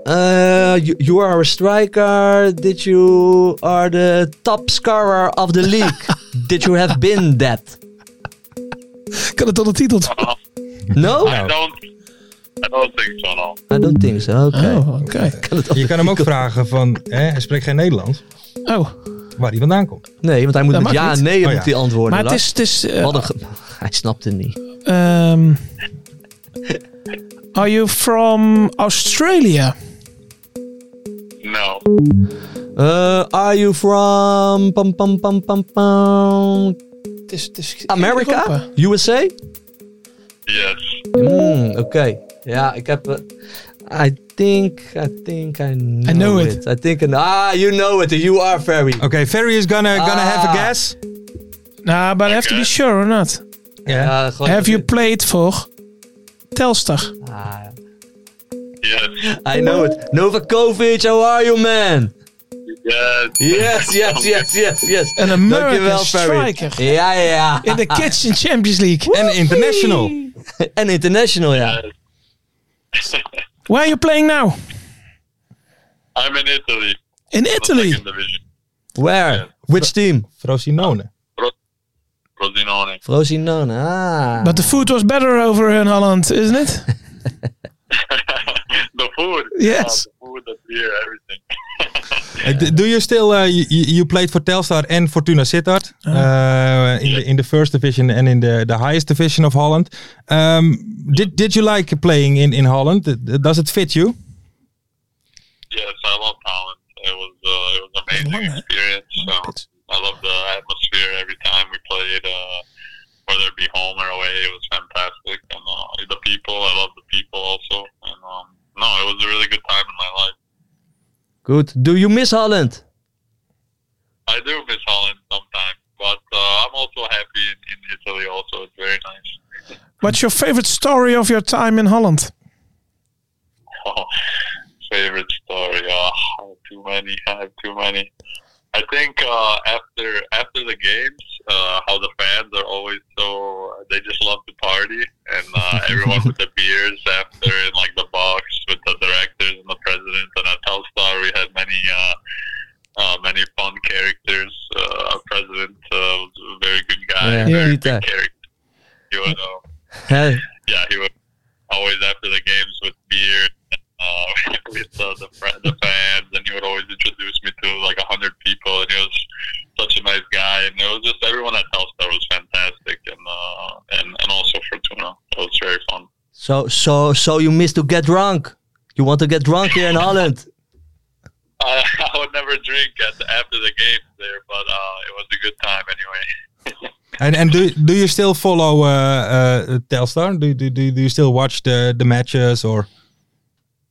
S4: Uh, you, you are a striker. Did you are the top scorer of the league? Did you have been that?
S5: Kan het tot de titel?
S4: No,
S6: Uh, I don't. I don't think so. No.
S4: I don't think so. Okay.
S5: Oh, oké.
S3: Je kan hem ook vragen van, hè, hij spreekt geen Nederlands,
S5: Oh,
S3: waar hij vandaan komt.
S4: Nee, want hij moet
S5: Dat
S4: met
S5: mag
S4: ja
S5: niet.
S4: en nee
S3: Oh,
S4: moet
S3: ja.
S4: hij antwoorden.
S5: maar het
S4: Lars.
S5: is... Het is eh,
S4: Wat een ge- hij snapte het niet.
S5: ehm, are you from Australia?
S6: No.
S5: Eh,
S4: Uh, are you from pam, pam, pam, pam, pam,
S5: Het is, het is
S4: America? USA?
S6: Yes.
S4: Mm, Oké. Ja, ik heb... eh, I think, I think I know,
S5: know it.
S4: I think I Ah, you know it. You are very...
S3: Oké, Ferry is gonna, gonna
S4: Ah.
S3: have a guess.
S5: Nah, but I have to be sure or not.
S3: Ja.
S4: Ja, gewoon-
S5: Have you played for Telstar?
S4: Ah,
S6: Yes.
S4: I know it. Novakovic, how are you, man?
S6: Yes.
S4: Yes, yes, yes, yes, yes.
S5: An American
S4: Dankjewel, Ferry.
S5: striker.
S4: Ja, ja,
S5: In
S4: ja.
S5: de Kitchen Champions League.
S3: En international.
S4: En international, ja.
S5: Where are you playing now?
S6: I'm in Italy.
S5: In
S6: The
S5: Italy.
S6: second division.
S4: Where? Which team?
S3: Frosinone.
S6: Frosinone.
S4: Frosinone. Ah.
S5: But the food was better over in Holland, isn't it?
S6: the food.
S5: Yes.
S6: Yeah, the food, the beer, everything.
S3: Eh, d- Do you still, uh, you, you played for Telstar and Fortuna Sittard
S4: Ah.
S3: uh, in, the, in the first division and in the, the highest division of Holland. Um, did, did you like playing in, in Holland? D- d- Does it fit you?
S6: Yes, I love Holland. It was uh, it was an amazing experience. So I love the atmosphere every time we played, uh, whether it be home or away. It was fantastic, and um, uh, the people. I love the people.
S4: Goed. Do you miss Holland?
S6: I do miss Holland sometimes, but uh, I'm also happy in, in Italy. Also, it's very nice.
S5: What's your favorite story of your time in Holland?
S6: Oh, favorite story? Oh, too many. I have too many. I think uh, after after the games, uh, how the fans are always so they just love to party, and uh, everyone with the beers after in like the box with the directors and the president. And at Telstar, we had many uh, uh, many fun characters. Uh, our president uh, was a very good guy,
S4: Yeah.
S6: very
S4: Yeah.
S6: good character. He would, um,
S4: Hey,
S6: yeah, he would always after the games with beer uh, with uh, the fr- the fans, and he would always introduce me to like a hundred people, and he was such a nice guy, and it was just everyone at Telstar was fantastic, and uh, and and also Fortuna, it was very fun.
S4: so, so, so you miss to get drunk. You want to get drunk here in Holland.
S6: I, I would never drink at the, after the games there, but uh, it was a good time anyway.
S3: And, and do, do you still follow uh, uh, Telstar? Do, do, do, do you still watch the, the matches? Or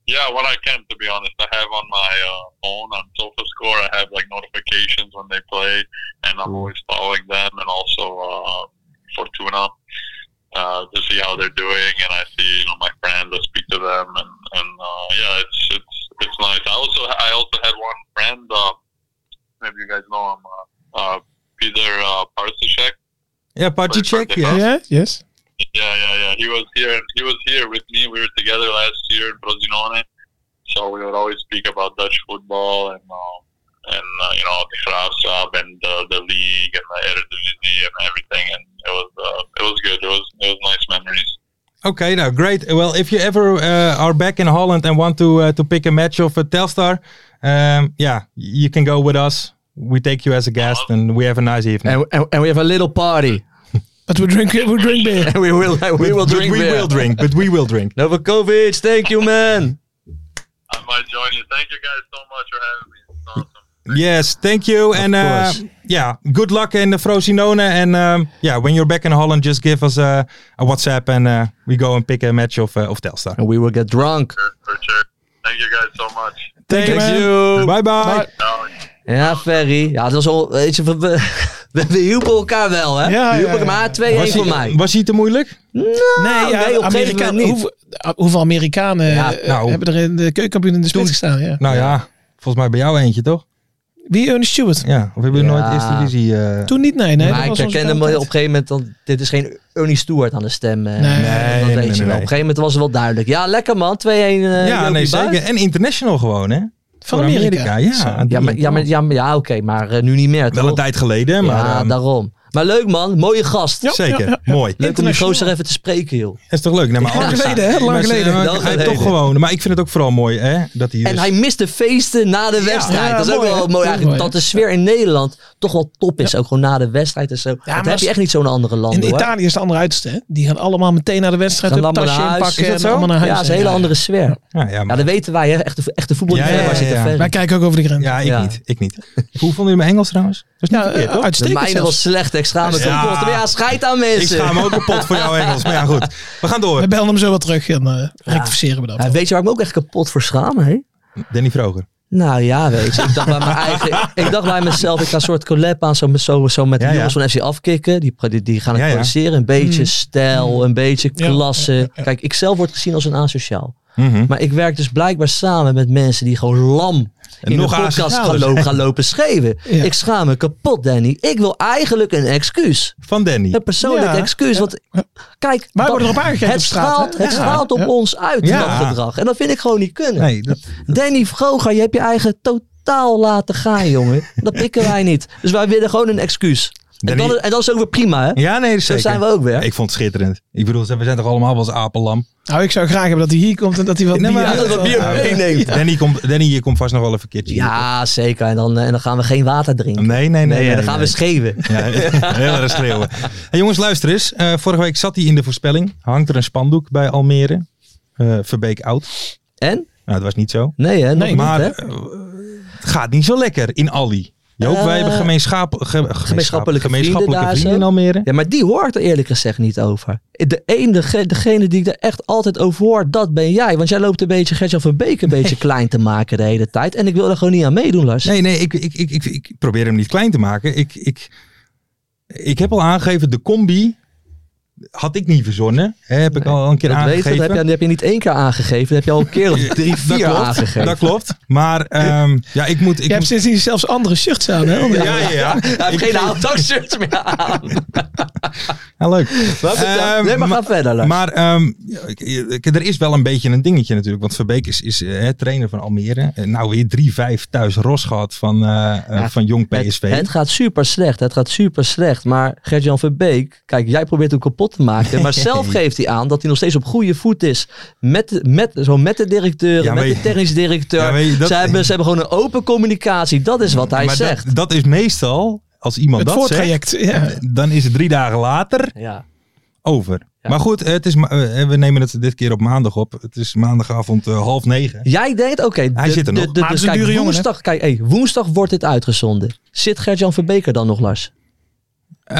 S6: Yeah, when I can, to be honest, I have on my uh, phone on SofaScore. I have like notifications when they play, and I'm always following them, and also uh, Fortuna uh, to see how they're doing. And I see, you know, my friends. I speak to them, and and uh, yeah, it's it's it's nice. I also I also had one friend. Uh, maybe you guys know him, uh, uh, Peter uh, Parsichek.
S3: yeah, party check. Yeah.
S5: Yeah, yes.
S6: Yeah, yeah, yeah. He was here. He was here with me. We were together last year in Frosinone, so we would always speak about Dutch football and um, and uh, you know the Graafschap and uh, the league and the Eredivisie and everything. And it was uh, it was good. It was it was nice memories.
S3: Okay, now great. Well, if you ever uh, are back in Holland and want to uh, to pick a match of uh, Telstar, um, yeah, you can go with us. We take you as a guest, and we have a nice evening.
S4: And, and, and we have a little party.
S5: But we drink, we drink beer.
S4: And we will, we will
S3: But
S4: drink
S3: we
S4: beer.
S3: will drink, but we will drink.
S4: Novakovic, thank you, man.
S6: I might join you. Thank you guys so much for having me. It's awesome.
S3: Yes, thank you, and uh,
S4: course.
S3: yeah, good luck in the Frosinone. And um, yeah, when you're back in Holland, just give us a, a WhatsApp, and uh, we go and pick a match of uh, of Telstar.
S4: And we will get drunk.
S6: For, for sure. Thank you guys so much.
S3: Thank
S4: you, man. you.
S3: Bye bye.
S5: Bye.
S6: Ciao.
S4: Ja, Ferry. Ja, dat was al, weet je, we, we- we, we hielpen elkaar wel, hè?
S5: Ja,
S4: we hielpen
S5: ja, ja.
S4: elkaar 2-1 voor mij.
S3: was hij te moeilijk?
S5: Nee,
S4: Nou, nee, op een gegeven
S5: Amerikaan-
S4: moment niet.
S5: hoeveel, ah, hoeveel Amerikanen
S4: Ja,
S5: eh,
S3: nou.
S5: hebben er in de keukenkampioen in de spits gestaan? Ja.
S3: Nou ja. volgens mij bij jou eentje toch?
S5: Wie Ernest Stewart?
S3: Ja, of hebben we
S4: Ja.
S3: nooit eerste divisie? eh,
S5: Toen niet, nee. nee dat
S4: maar ik
S5: was onze
S4: herkende me op
S5: kwaliteit.
S4: een gegeven moment, dat, dit is geen Ernie Stewart aan de stem. eh,
S5: Nee.
S3: Nee,
S4: dat
S3: nee,
S4: weet
S3: nee,
S4: je
S3: nee.
S4: wel. Op een gegeven moment was het wel duidelijk. Ja, lekker man, 2-1. eh,
S3: ja,
S4: Jopie
S3: nee, zeker.
S4: Buit.
S3: En international gewoon, hè?
S5: Van
S3: Voor
S5: Amerika. Zo.
S3: Ja, die-
S4: Ja, maar, ja, maar, ja, maar- ja oké, maar eh, nu niet meer.
S3: wel een
S4: toch?
S3: tijd geleden, maar
S4: Ja,
S3: ehm,
S4: daarom. Maar leuk man, mooie gast.
S5: Ja.
S3: zeker. Mooi.
S4: Leuk om die
S5: Internationaal.
S4: gozer even te spreken, joh.
S3: Dat is toch leuk? Nee, maar
S5: Lang
S3: anders-
S5: geleden, hè? Lang
S3: maar ze-
S5: geleden.
S3: maar
S4: Lang
S3: Hij heeft toch
S4: geleden.
S3: gewoon. Maar ik vind het ook vooral mooi, hè? Dat hij.
S4: En
S3: dus-
S4: hij mist de feesten na de wedstrijd.
S5: ja,
S4: dat is ook
S5: mooi,
S4: wel
S5: hè?
S4: mooi eigenlijk. Dat
S5: Mooi,
S4: de sfeer in Nederland toch wel top is. Ook gewoon na de wedstrijd en zo. dat
S5: maar
S4: heb
S5: als-
S4: je echt niet zo'n andere
S5: In
S4: landen hoor.
S5: Italië is de andere uiterste. Hè? Die gaan allemaal meteen naar de wedstrijd.
S4: Gaan
S5: hun
S4: allemaal
S5: tasje
S4: naar huis.
S5: inpakken
S4: Is dat
S5: en
S4: zo?
S5: allemaal naar huis.
S4: ja, dat is een hele andere sfeer.
S3: ja, ja,
S4: Ja,
S3: maar-
S4: dat weten wij. Hè? Echte, echte voetballiefhebbers
S3: Ja, ja,
S4: zitten
S3: ja.
S4: ver.
S5: Wij kijken ook over de grens.
S3: ja, ik
S4: Ja.
S3: niet. Ik niet. Hoe vonden jullie mijn Engels trouwens? Dat is niet
S5: Ja,
S3: verkeerd,
S5: eh,
S3: toch?
S4: De
S5: uitstekend
S4: mijne
S5: zelfs.
S4: was slecht. Ik schaam me
S3: Ja.
S4: kapot. Maar ja, scheid aan
S3: Ik
S4: mensen.
S3: schaam me ook kapot voor jouw Engels. Maar ja, goed. We gaan door.
S5: We bellen hem zo wel terug en eh, rectificeren we dat.
S4: Ja, weet je waar ik me ook echt kapot voor schaam? Hè?
S3: Danny Vroger.
S4: Nou ja, weet je. Ik dacht bij, mijn eigen, ik dacht bij mezelf, ik ga een soort collab aan zo, met- zo, zo met de
S3: Ja, ja.
S4: jongens van FC afkicken. Die, pro- die, die gaan het
S3: Ja, ja.
S4: produceren. Een beetje stijl, een beetje
S5: Mm. Ja.
S4: klasse. Kijk, ik zelf word gezien als een asociaal.
S3: Mhm.
S4: Maar ik werk dus blijkbaar samen met mensen die gewoon lam in
S3: nog
S4: een podcast
S3: asocialer
S4: gaan, lo-
S3: zijn.
S4: gaan lopen schreeuwen.
S5: Ja.
S4: Ik schaam me kapot, Danny. Ik wil eigenlijk een excuus.
S3: Van Danny.
S4: Een persoonlijk
S5: Ja.
S4: excuus. Want kijk,
S5: Wij worden
S4: dat-
S5: erop aangekeken
S4: het
S5: op straat, hè?
S4: straalt, het
S5: Ja.
S4: straalt op
S5: Ja.
S4: ons uit,
S3: Ja.
S4: dat gedrag. En dat vind ik gewoon niet kunnen.
S3: Nee, dat,
S4: Danny Vroger, je hebt je eigen totaal laten gaan, jongen. Dat pikken wij niet. Dus wij willen gewoon een excuus. En,
S3: Danny-
S4: dan, en dat is ook weer prima, hè?
S3: ja, nee, zeker.
S4: zijn we ook weer.
S3: Ja, ik vond het schitterend. Ik bedoel, we zijn toch allemaal wel eens apenlam.
S5: Nou, ik zou graag hebben dat hij hier komt en dat hij wat
S3: Nee,
S5: bier...
S3: maar-
S4: Ja, dat wat bier
S3: Ja.
S4: meeneemt. Ja.
S3: Danny, komt, Danny, je komt vast nog wel even een keertje.
S4: zeker. En dan, eh, en dan gaan we geen water drinken.
S3: Nee, nee, nee.
S4: Nee,
S3: nee,
S4: dan gaan we scheven.
S3: Ja, heel erg schreeuwen. Hey, jongens, luister eens. Eh, vorige week zat hij in de voorspelling. Hangt er een spandoek bij Almere. Eh, Verbeek oud.
S4: En?
S3: Nou, dat was niet zo.
S4: Nee, hè? Nog
S5: Nee,
S4: niet,
S3: maar
S4: hè?
S3: eh, het gaat niet zo lekker in Ali. Joop, wij
S4: Eh,
S3: hebben gemeenschapp- ge- gemeenschappelijke, gemeenschappelijke,
S4: vrienden daar
S3: vrienden,
S4: zo.
S3: in Almere.
S4: Ja, maar die hoort er eerlijk gezegd niet over. De een, dege- degene die ik er echt altijd over hoor, dat ben jij. Want jij loopt een beetje Gertjan van Beek een beetje klein te maken de hele tijd. En ik wil er gewoon niet aan meedoen, Lars.
S3: Nee, nee, ik, ik, ik, ik, ik probeer hem niet klein te maken. Ik, ik, ik heb al aangegeven, de combi had ik niet verzonnen. Hè, heb ik al een keer
S4: dat, weet,
S3: aangegeven.
S4: ik, dat, heb je, dat heb je niet één keer aangegeven. Dat heb je al een keer of drie,
S3: dat
S4: vier
S3: klopt,
S4: aangegeven.
S3: dat klopt. Maar ehm, ja, ik moet... Ik
S5: Je hebt
S3: moet
S5: sindsdien zelfs andere shirts aan, hè?
S3: ja, ja, ja.
S4: Hij heeft geen haaltakshirt meer aan.
S3: Ja, leuk.
S4: Wat betreft-
S3: Ehm,
S4: nee, maar
S3: ma-
S4: ga verder, Lars.
S3: Maar ehm, ja, ik- ik- er is wel een beetje een dingetje natuurlijk. Want Verbeek is, is eh, trainer van Almere. Eh, Nou weer 3-5 thuis ros gehad van, eh, eh,
S4: Ja,
S3: van jong
S4: Het-
S3: PSV.
S4: Het, gaat super slecht. Het gaat super slecht. Maar Gert-Jan Verbeek, kijk, jij probeert hem kapot te maken. Maar zelf geeft hij aan dat hij nog steeds op goede voet is. Met, de- met, zo met de directeur,
S3: Ja,
S4: met
S3: maar
S4: de
S3: je-
S4: technisch directeur.
S3: Ja, maar je- dat-
S4: ze, hebben, ze hebben gewoon een open communicatie. Dat is wat hij
S3: maar
S4: zegt.
S3: Dat, dat is meestal, als iemand
S5: Het
S3: dat zegt,
S5: voortraject. Ja.
S3: dan is het drie dagen later
S4: Ja.
S3: over. Maar goed, het is, ma- eh, we nemen het dit keer op maandag op. Het is maandagavond eh, half negen.
S4: Jij denkt, oké,
S3: Hij
S4: de-
S3: zit er
S4: de-
S3: nog.
S4: de- dus
S5: Maar het is een
S4: kijk,
S5: dure jongen, hè?
S4: woensdag, kijk, hey, woensdag wordt dit uitgezonden. Zit Gert-Jan Verbeek er dan nog, Lars?
S3: Eh,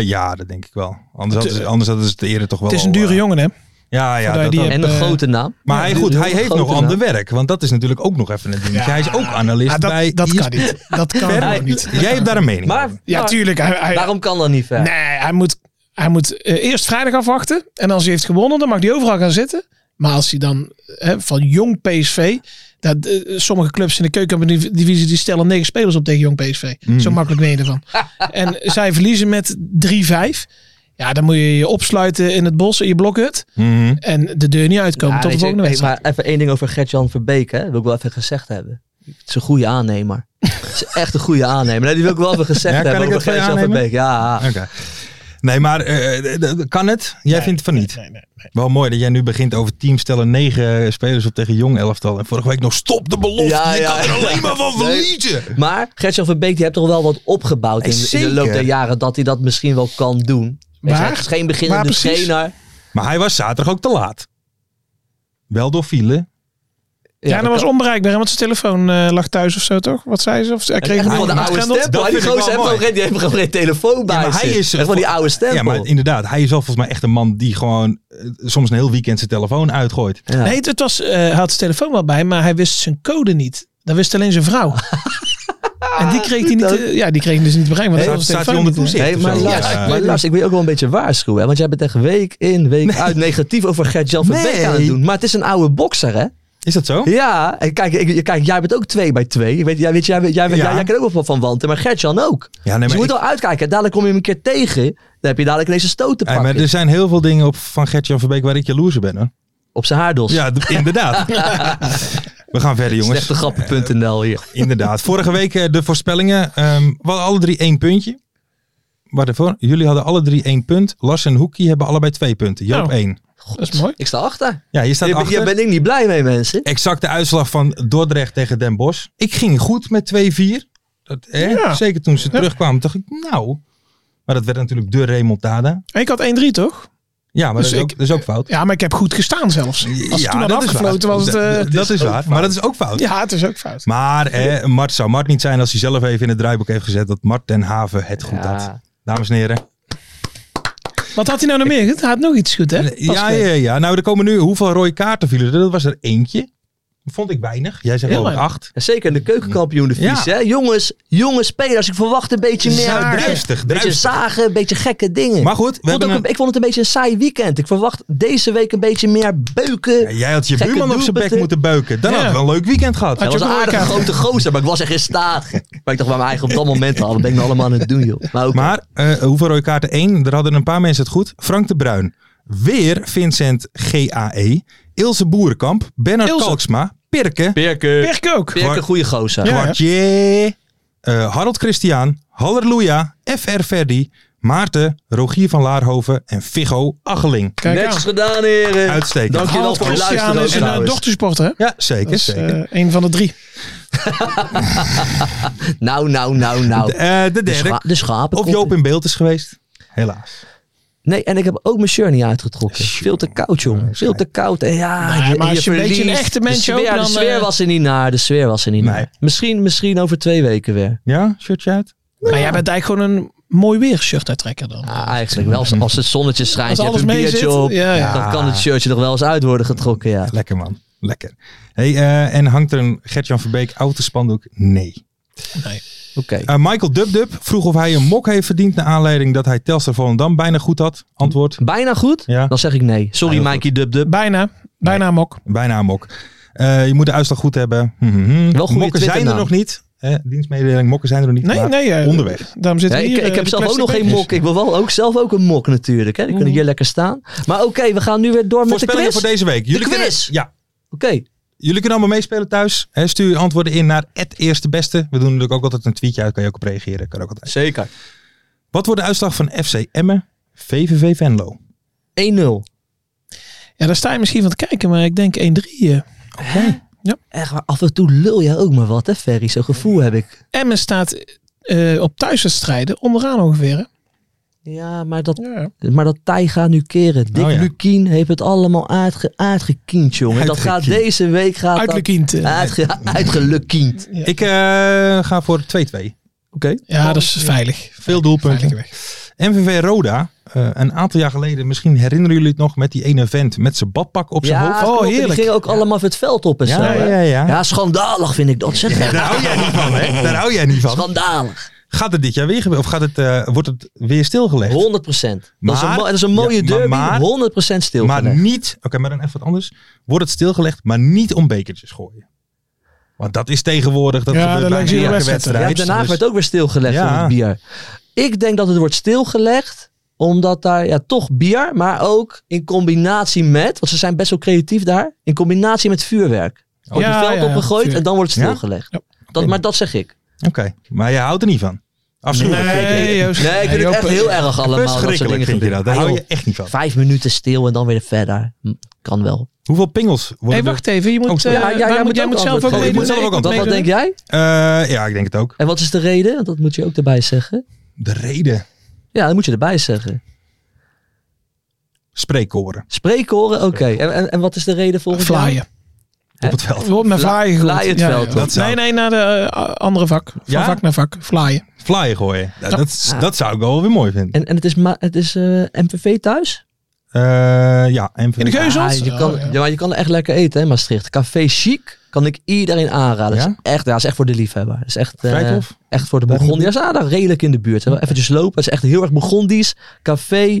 S3: ja, dat denk ik wel. Anders hadden ze, anders hadden ze het eerder toch wel.
S5: Het is
S3: al,
S5: een dure
S3: eh,
S5: jongen, hè?
S3: Ja, ja.
S5: Vandaar
S3: dat
S5: die
S3: ook.
S5: heb-
S4: En een
S5: eh,
S4: grote naam.
S3: Maar
S4: Ja,
S3: hij,
S4: een
S3: goed,
S4: heel
S3: hij heeft
S4: grote
S3: nog
S4: naam.
S3: ander werk. Want dat is natuurlijk ook nog even een dingetje. Hij is ook analist
S5: Ah, dat,
S3: bij E
S5: dat kan
S3: ESPN.
S5: niet. Dat kan
S3: Verder
S5: gewoon
S3: nog
S5: niet.
S3: Jij hebt daar een mening
S4: Maar,
S3: over.
S5: Ja,
S4: maar-
S5: tuurlijk. Hij, hij-
S4: Waarom kan dat niet ver?
S5: nee, hij moet, hij moet eh, eerst vrijdag afwachten. En als hij heeft gewonnen, dan mag hij overal gaan zitten. Maar als hij dan hè, van jong PSV... Dat, eh, sommige clubs in de keukendivisie die stellen negen spelers op tegen jong PSV.
S3: Hmm.
S5: Zo makkelijk ben je ervan. en zij verliezen met 3-5. Ja, dan moet je je opsluiten in het bos, in je blokhut.
S3: Mhm.
S5: En de deur niet uitkomen
S4: Ja,
S5: tot de
S4: weet je,
S5: volgende
S4: hey,
S5: wedstrijd.
S4: Maar even één ding over Gert-Jan Verbeek, hè, wil ik wel even gezegd hebben. Het is een goede aannemer. Het is echt een goede aannemer. Nee, die wil ik wel even gezegd
S3: Ja, kan
S4: hebben.
S3: ik
S4: over
S3: dat van je
S4: Gert-Jan
S3: aannemen?
S4: Verbeek. Ja,
S3: Oké. Nee, maar eh, d- d- kan het? Jij vindt van niet.
S5: Nee, nee, nee.
S3: Wel mooi dat jij nu begint over teams stellen negen eh, spelers op tegen jong elftal. En vorige week nog stop de belofte.
S4: Ja,
S3: je
S4: ja,
S3: kan er
S4: ja.
S3: alleen maar van verliezen.
S4: Maar Gert-Jan Verbeek die heeft toch wel wat opgebouwd
S3: Nee,
S4: in, in de loop
S3: zeker.
S4: der jaren. Dat hij dat misschien wel kan doen. Weet je,
S5: Waar?
S4: het is geen
S5: Waar
S4: beginnende
S5: precies?
S4: trainer.
S3: Maar hij was zaterdag ook te laat. Wel door file.
S5: Ja, dat
S4: dat
S5: was
S4: kan.
S5: onbereikbaar, hè, want zijn telefoon eh, lag thuis of zo, toch? Wat zei ze? Of hij kreeg
S4: Echt
S5: een
S4: van de
S5: mail
S4: oude
S5: geschendeld?
S4: stempel.
S3: Dat
S4: Die
S3: vind ik
S4: gozer
S3: wel
S4: heeft gewoon
S3: mooi.
S4: geen- die heeft gewoon geen telefoon bij
S3: maar hij
S4: zich.
S3: is-
S4: Echt van die oude stempel.
S3: Ja, maar inderdaad. Hij is al volgens mij echt een man die gewoon eh, soms een heel weekend zijn telefoon uitgooit.
S4: Ja.
S5: Nee, het was, eh, hij had zijn telefoon wel bij, maar hij wist zijn code niet. Dat wist alleen zijn vrouw. en die kreeg hij niet,
S4: Goed,
S5: eh, ja, die kreeg hij dus niet bereikt. Want
S3: Staat-
S5: hij had zijn
S3: staat hij onder
S5: telefoon niet, eh.
S3: toezicht?
S4: Hey,
S3: of
S4: maar
S3: zo.
S4: Lars,
S3: Ja. eh,
S4: maar Lars, ik wil je ook wel een beetje waarschuwen. Hè? Want jij bent echt week in, week uit negatief over Gert-Jan van Beek
S3: Nee.
S4: aan het doen. Maar het is een oude bokser, hè?
S3: Is dat zo?
S4: Ja, en kijk, ik, kijk jij bent ook twee bij twee. Ik weet, jij, weet, jij, weet- jij, weet-
S3: Ja.
S4: jij, jij kan ook wel van- van wanten, maar Gert-Jan ook.
S3: Ja, nee,
S4: dus
S3: maar
S4: je moet
S3: ik-
S4: wel uitkijken. Dadelijk kom je hem een keer tegen. Dan heb je dadelijk ineens een stoot te
S3: Hey,
S4: pakken.
S3: eh, maar dus- er zijn heel veel dingen op van Gert-Jan Verbeek waar ik jaloers op ben. Hoor.
S4: Op zijn haardos.
S3: Ja, d- inderdaad. We gaan verder, jongens.
S4: Slechtegrappen.nl hier.
S3: Inderdaad. Vorige week eh, de voorspellingen. ehm we hadden alle drie één puntje. Waar ervoor? Jullie hadden alle drie één punt. Lars en Hoekie hebben allebei twee punten. Joop
S5: Oh.
S3: één.
S5: Dat is mooi.
S4: Ik sta achter.
S3: Ja, je staat
S4: Hier, ben-
S3: achter.
S4: hier ben ik niet blij mee, mensen.
S3: Exact de uitslag van Dordrecht tegen Den Bosch. Ik ging goed met 2-4. Dat, hè?
S5: Ja.
S3: Zeker toen ze terugkwamen, dacht ik, nou. Maar dat werd natuurlijk de remontada.
S5: En Ik had 1-3, toch?
S3: Ja, maar
S5: Dus
S3: dat, is ook,
S5: ik-
S3: dat is ook fout.
S5: Ja, maar ik heb goed gestaan zelfs. Als het toen had
S3: dat is
S5: afgefloten
S3: waar.
S5: was het...
S3: Dat-
S5: eh,
S3: dat is waar, maar dat is ook fout.
S5: ja, het is ook fout.
S3: Maar hè, Mart zou Mart niet zijn als hij zelf even in het draaiboek heeft gezet dat Mart Den Haven het goed had.
S4: Ja.
S3: Dames en heren.
S5: Wat had hij nou nog meer? goed? Hij had nog iets goed, hè? Pas
S3: Ja,
S5: geleden.
S3: ja, ja. Nou, er komen nu hoeveel rode kaarten vielen. er? Dat was er eentje. Vond ik weinig. Jij zegt
S5: Heel
S3: wel
S5: weinig.
S3: acht.
S4: Ja, Zeker in de keukenkampioen de
S3: Ja.
S4: Vries, hè? Jongens, jonge spelers, ik verwacht een beetje meer.
S3: Zaag,
S4: Een
S3: druistig,
S4: beetje
S3: druistig.
S4: zagen, een beetje gekke dingen.
S3: Maar goed, we
S4: ik, vond
S3: hebben
S4: ook
S3: een-
S4: een- ik vond het een beetje een saai weekend. Ik verwacht deze week een beetje meer beuken.
S3: Ja, jij had je
S4: Gekke
S3: buurman op zijn bek
S4: doelpunten.
S3: moeten beuken. Dan
S5: Ja.
S3: had we een leuk weekend gehad.
S4: Hij was een
S5: ook een
S4: aardige
S5: orka?
S4: grote gozer, maar ik was echt in staat. Maar ik dacht bij mijn eigen op dat moment al, wat ben ik nou allemaal aan het doen, joh. Maar, ook,
S3: Maar eh, hoeveel rode kaarten? Eén. Er hadden een paar mensen het goed. Frank de Bruin. Weer Vincent GAE. Ilse Boerenkamp. Bernard
S5: Ilse.
S3: Kalksma. Pirke.
S4: Perke,
S5: Perk ook.
S4: Perke, goede gozer.
S5: Ja.
S3: Kwartje. eh, Harold Christian. Halleluja. FR Verdi. Maarten. Rogier van Laarhoven. En Figo Acheling.
S5: Kijk
S4: Netjes
S5: aan.
S4: gedaan, heren.
S3: Uitstekend.
S4: Dankjewel
S5: Hans
S4: voor het
S5: Christian
S4: luisteren.
S5: is
S4: ook
S5: een eh,
S4: trouwens.
S5: dochtersporter, hè?
S3: Ja, zeker.
S5: Dat is
S3: zeker.
S5: eh, een van de drie.
S4: Nou, nou, nou, nou.
S3: Eh, de
S4: De,
S3: derde. Eh,
S5: eh,
S4: scha nou, de schapen.
S3: Of Joop in beeld is geweest. Helaas.
S4: Nee, en ik heb ook mijn shirt niet uitgetrokken.
S3: Sjoe.
S4: Veel te koud, jongen. Veel te koud. En ja,
S5: Nee, maar
S4: en
S5: als je een beetje een
S4: verliest.
S5: echte
S4: de
S5: mens
S4: sfeer,
S5: ook, dan,
S4: De sfeer
S5: eh,
S4: was er niet naar. De sfeer was er niet
S3: Nee.
S4: naar. Misschien, misschien over twee weken weer.
S3: Ja, shirtje uit.
S5: Maar jij bent eigenlijk gewoon een mooi weer shirt uittrekker dan.
S4: Ah, eigenlijk wel. Als het zonnetje schijnt,
S5: Als
S4: je hebt
S5: alles
S4: een
S5: mee
S4: biertje
S5: zit.
S4: op.
S5: Ja, ja.
S4: Dan kan het shirtje er wel eens uit worden getrokken, ja.
S3: Lekker man, lekker. Hey, eh, en hangt er een Gertjan Verbeek autospandoek? Nee.
S5: Nee.
S4: Oké.
S3: Eh, Michael Dubdub vroeg of hij een mok heeft verdiend naar aanleiding dat hij Telstar Volendam bijna goed had. Antwoord,
S4: Bijna goed?
S3: Ja.
S4: Dan zeg ik nee. Sorry,
S3: Ja, heel
S4: Mikey Dub Dub.
S5: Bijna. Bijna mok.
S3: bijna een mok. Eh, je moet de uitslag goed hebben. Hm, hm, hm.
S4: Wel
S3: mokken
S4: goede
S3: zijn er
S4: Twitternaam.
S3: nog niet. Eh, dienstmededeling, mokken zijn er nog niet.
S5: Nee,
S3: maar
S5: nee. eh,
S3: Onderweg.
S5: Daarom zitten
S4: Ja,
S5: we
S4: ik,
S5: hier.
S4: ik
S5: eh,
S4: heb
S5: de
S4: zelf ook
S5: plastic
S4: nog geen
S5: bekers.
S4: mok. Ik wil wel ook zelf ook een mok natuurlijk. Hè. Die kunnen hier lekker staan. Maar oké, we gaan nu weer door met de
S3: Voorspellingen
S4: quiz.
S3: voor deze week. Jullie kunnen,
S4: quiz.
S3: ja,
S4: Oké,
S3: Jullie kunnen allemaal meespelen thuis. Hè, stuur je antwoorden in naar het eerste beste. We doen natuurlijk ook altijd een tweetje uit. Kan je ook op reageren. Kan ook altijd.
S4: zeker. 1-0.
S3: Wat wordt de uitslag van FC Emmen? VVV Venlo.
S5: Ja, daar sta je misschien van te kijken, maar ik denk 1-3. eh.
S4: Echt waar, af en toe lul jij ook maar wat hè Ferry. Zo'n gevoel heb ik.
S5: Emmen staat eh, op thuiswedstrijden onderaan ongeveer. hè?
S4: Ja, maar dat,
S5: Ja.
S4: maar dat tij gaat nu keren. Dick
S3: Oh ja.
S4: Lukien heeft het allemaal aardge, aardgekiend, jongen. Dat gaat
S3: Uitgekiend.
S4: deze week... Gaat dat-
S5: Uitlekiend. eh.
S4: Uitge, uitgelukiend.
S3: Ik eh, ga voor 2-2.
S4: Oké.
S5: Ja, dat is veilig.
S3: Veel doelpunten.
S5: Veilig weg.
S3: MVV Roda. eh, een aantal jaar geleden. Misschien herinneren jullie het nog. Met die ene vent met zijn badpak op zijn
S4: Ja,
S3: hoofd. Oh,
S4: klopt. En Die gingen ook allemaal het veld op en zo.
S3: Ja,
S4: hè?
S3: ja, ja. nou,
S4: Ja, schandalig vind ik dat. Zeg.
S3: Daar hou jij niet van, hè? Daar hou jij niet van.
S4: Schandalig. 100%.
S3: Gaat het dit jaar weer gebeuren? Of gaat het, eh, wordt het weer stilgelegd?
S4: dat, is een,
S3: Maar-
S4: mo- dat is een mooie
S3: ja, maar-
S4: derby.
S3: maar-
S4: 100% stil.
S3: Maar niet, oké, maar dan even wat anders. Wordt het stilgelegd, maar niet om bekertjes gooien. Want dat is tegenwoordig, dat
S5: Ja,
S3: gebeurt
S5: dat
S3: bij
S5: lijkt je
S3: elke
S5: heel wedstrijd.
S3: wedstrijd.
S4: ja,
S3: Dus-
S4: daarna werd ook weer stilgelegd
S3: Ja.
S4: van het bier. Ik denk dat het wordt stilgelegd omdat daar ja, toch bier, maar ook in combinatie met, want ze zijn best wel creatief daar, in combinatie met vuurwerk. Wordt
S5: Ja,
S4: het veld
S5: ja,
S4: opgegooid
S5: vuur.
S4: en dan wordt het
S3: Ja?
S4: stilgelegd.
S5: Ja.
S4: Dat, maar dat zeg ik.
S3: Oké, maar je houdt er niet van. Afschuwelijk.
S5: Nee,
S3: vind je.
S5: Joost.
S4: Nee, ik vind
S5: Nee,
S4: het
S5: Joop, eh,
S4: echt heel erg allemaal. Dat soort
S3: Verschrikkelijk
S4: dingen
S3: vind je dat. Daar
S4: Ah,
S3: hou
S4: joh,
S3: je echt niet van.
S4: Vijf minuten stil en dan weer verder. Hm, Kan wel.
S3: Hoeveel pingels worden
S5: Hey,
S3: er-
S5: wacht even. Je
S3: Oh,
S5: moet,
S3: sorry.
S5: eh,
S4: Ja, ja, jij
S5: wij
S4: moet
S5: moet- jij
S4: ook
S5: moet zelf
S4: antwoord
S5: ook
S4: geven.
S5: meedoen.
S3: Ik moet zelf
S5: Nee,
S3: ook
S5: ik
S3: antwoord
S4: Wat, wat
S5: meedoen.
S4: denk jij?
S3: Eh, ja, ik denk het ook.
S4: En wat is de reden? Dat moet je ook erbij zeggen.
S3: De reden.
S4: Ja, dat moet je erbij zeggen.
S3: Spreekkoren
S4: Spreekkoren, oké. En, en, en wat is de reden volgens jou?
S5: Vlaaien.
S3: op het veld.
S5: We worden naar
S4: Vla-
S5: vlaaien
S4: vlaaien het veld op.
S3: Dat zou-
S5: Nee, nee, naar de eh, andere vak. Van
S3: Ja?
S5: vak naar vak. Vlaaien.
S3: Flyer gooien. Nou,
S5: Ja.
S3: Dat, is- dat zou ik wel weer mooi vinden.
S4: En, en het is, ma- het is eh, MVV thuis?
S3: Eh, ja, en
S5: In de geuzels?
S4: Ah, je kan,
S5: Oh, ja.
S4: ja, maar je kan er echt lekker eten, hè, Maastricht. Café Chic kan ik iedereen aanraden. Dat
S3: Ja?
S4: is echt, ja, dat is echt voor de liefhebber. Dat is echt, eh,
S3: Vrijthof?
S4: echt voor de
S3: Daar
S4: Burgondiërs. Ja, daar redelijk in de buurt. Hè. Eventjes lopen. Het is echt heel erg Burgondisch. Café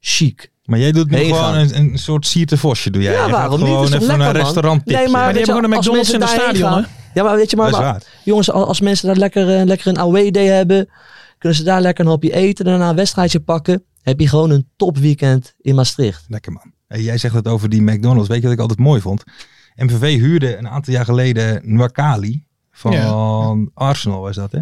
S4: Chic.
S3: Maar jij doet nu
S4: Heen
S3: gewoon
S4: gaan.
S3: een, een soort siertevosje. Doe jij.
S4: Ja,
S3: Jij gaat
S4: waarom niet?
S3: Gewoon
S4: Is toch
S3: even
S4: lekker,
S3: een
S4: man?
S3: restaurant tipje.
S4: Nee, maar
S5: Maar die
S4: weet je
S5: hebben
S4: wel,
S5: gewoon een
S4: als
S5: McDonald's in
S4: mensen
S5: het
S4: daarheen
S5: stadion,
S4: gaan- Ja, maar weet je, maar,
S3: Dat is
S4: maar-
S3: waar.
S4: jongens, al- als mensen daar lekker, eh, lekker een away day hebben, kunnen ze daar lekker een hapje eten, daarna een wedstrijdje pakken. Heb je gewoon een topweekend in Maastricht.
S3: Lekker man. Hey, jij zegt het over die McDonald's. Weet je wat ik altijd mooi vond? MVV huurde een aantal jaar geleden Nwakali van Arsenal was dat hè?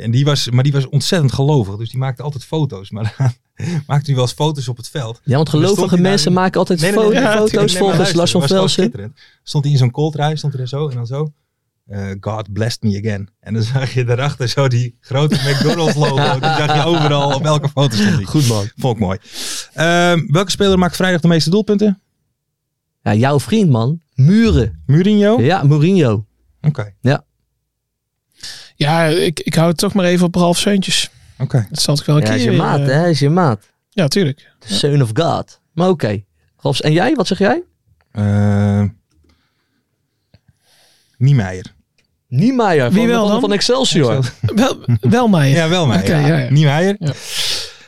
S3: En die was, maar die was ontzettend gelovig. Dus die maakte altijd foto's. Maar maakte nu wel eens foto's op het veld.
S4: Ja, want
S3: En dan stond
S4: gelovige
S3: hij daar
S4: mensen
S3: in-
S4: maken altijd
S3: Nee, nee, nee,
S4: fo-
S3: ja, tuurlijk. Nee,
S4: foto's
S3: maar
S4: volgens
S3: luister,
S4: Lars van
S3: dat was gewoon
S4: Velsen.
S3: schitterend. Stond hij in zo'n kooltrui, stond hij er zo en dan zo. eh, God blessed me again. En dan zag je daarachter zo die grote McDonald's logo. Die zag je overal op elke foto stond die.
S4: Goed man.
S3: Vond ik mooi. Ehm, welke speler maakt vrijdag de meeste doelpunten?
S4: Ja, jouw vriend man, Muren.
S3: Mourinho?
S4: Ja, Mourinho.
S3: Oké.
S5: Ja, ik, ik hou het toch maar even op Ralf Seuntjes.
S3: Oké.
S5: Dat zal ik wel een
S4: Ja,
S5: keer
S4: is je
S5: weer,
S4: maat,
S5: eh,
S4: hè? Is je maat.
S5: Ja, tuurlijk.
S4: The son of God. Maar oké. Ralfs, En jij, wat zeg jij?
S3: Eh, Niemeyer.
S4: Niemeyer van,
S5: Wie wel
S4: van,
S5: dan?
S4: van Excelsior.
S5: Wel, wel mij.
S3: Ja, wel Meijer.
S5: Oké, ja, ja.
S3: Niemeyer.
S5: Ja.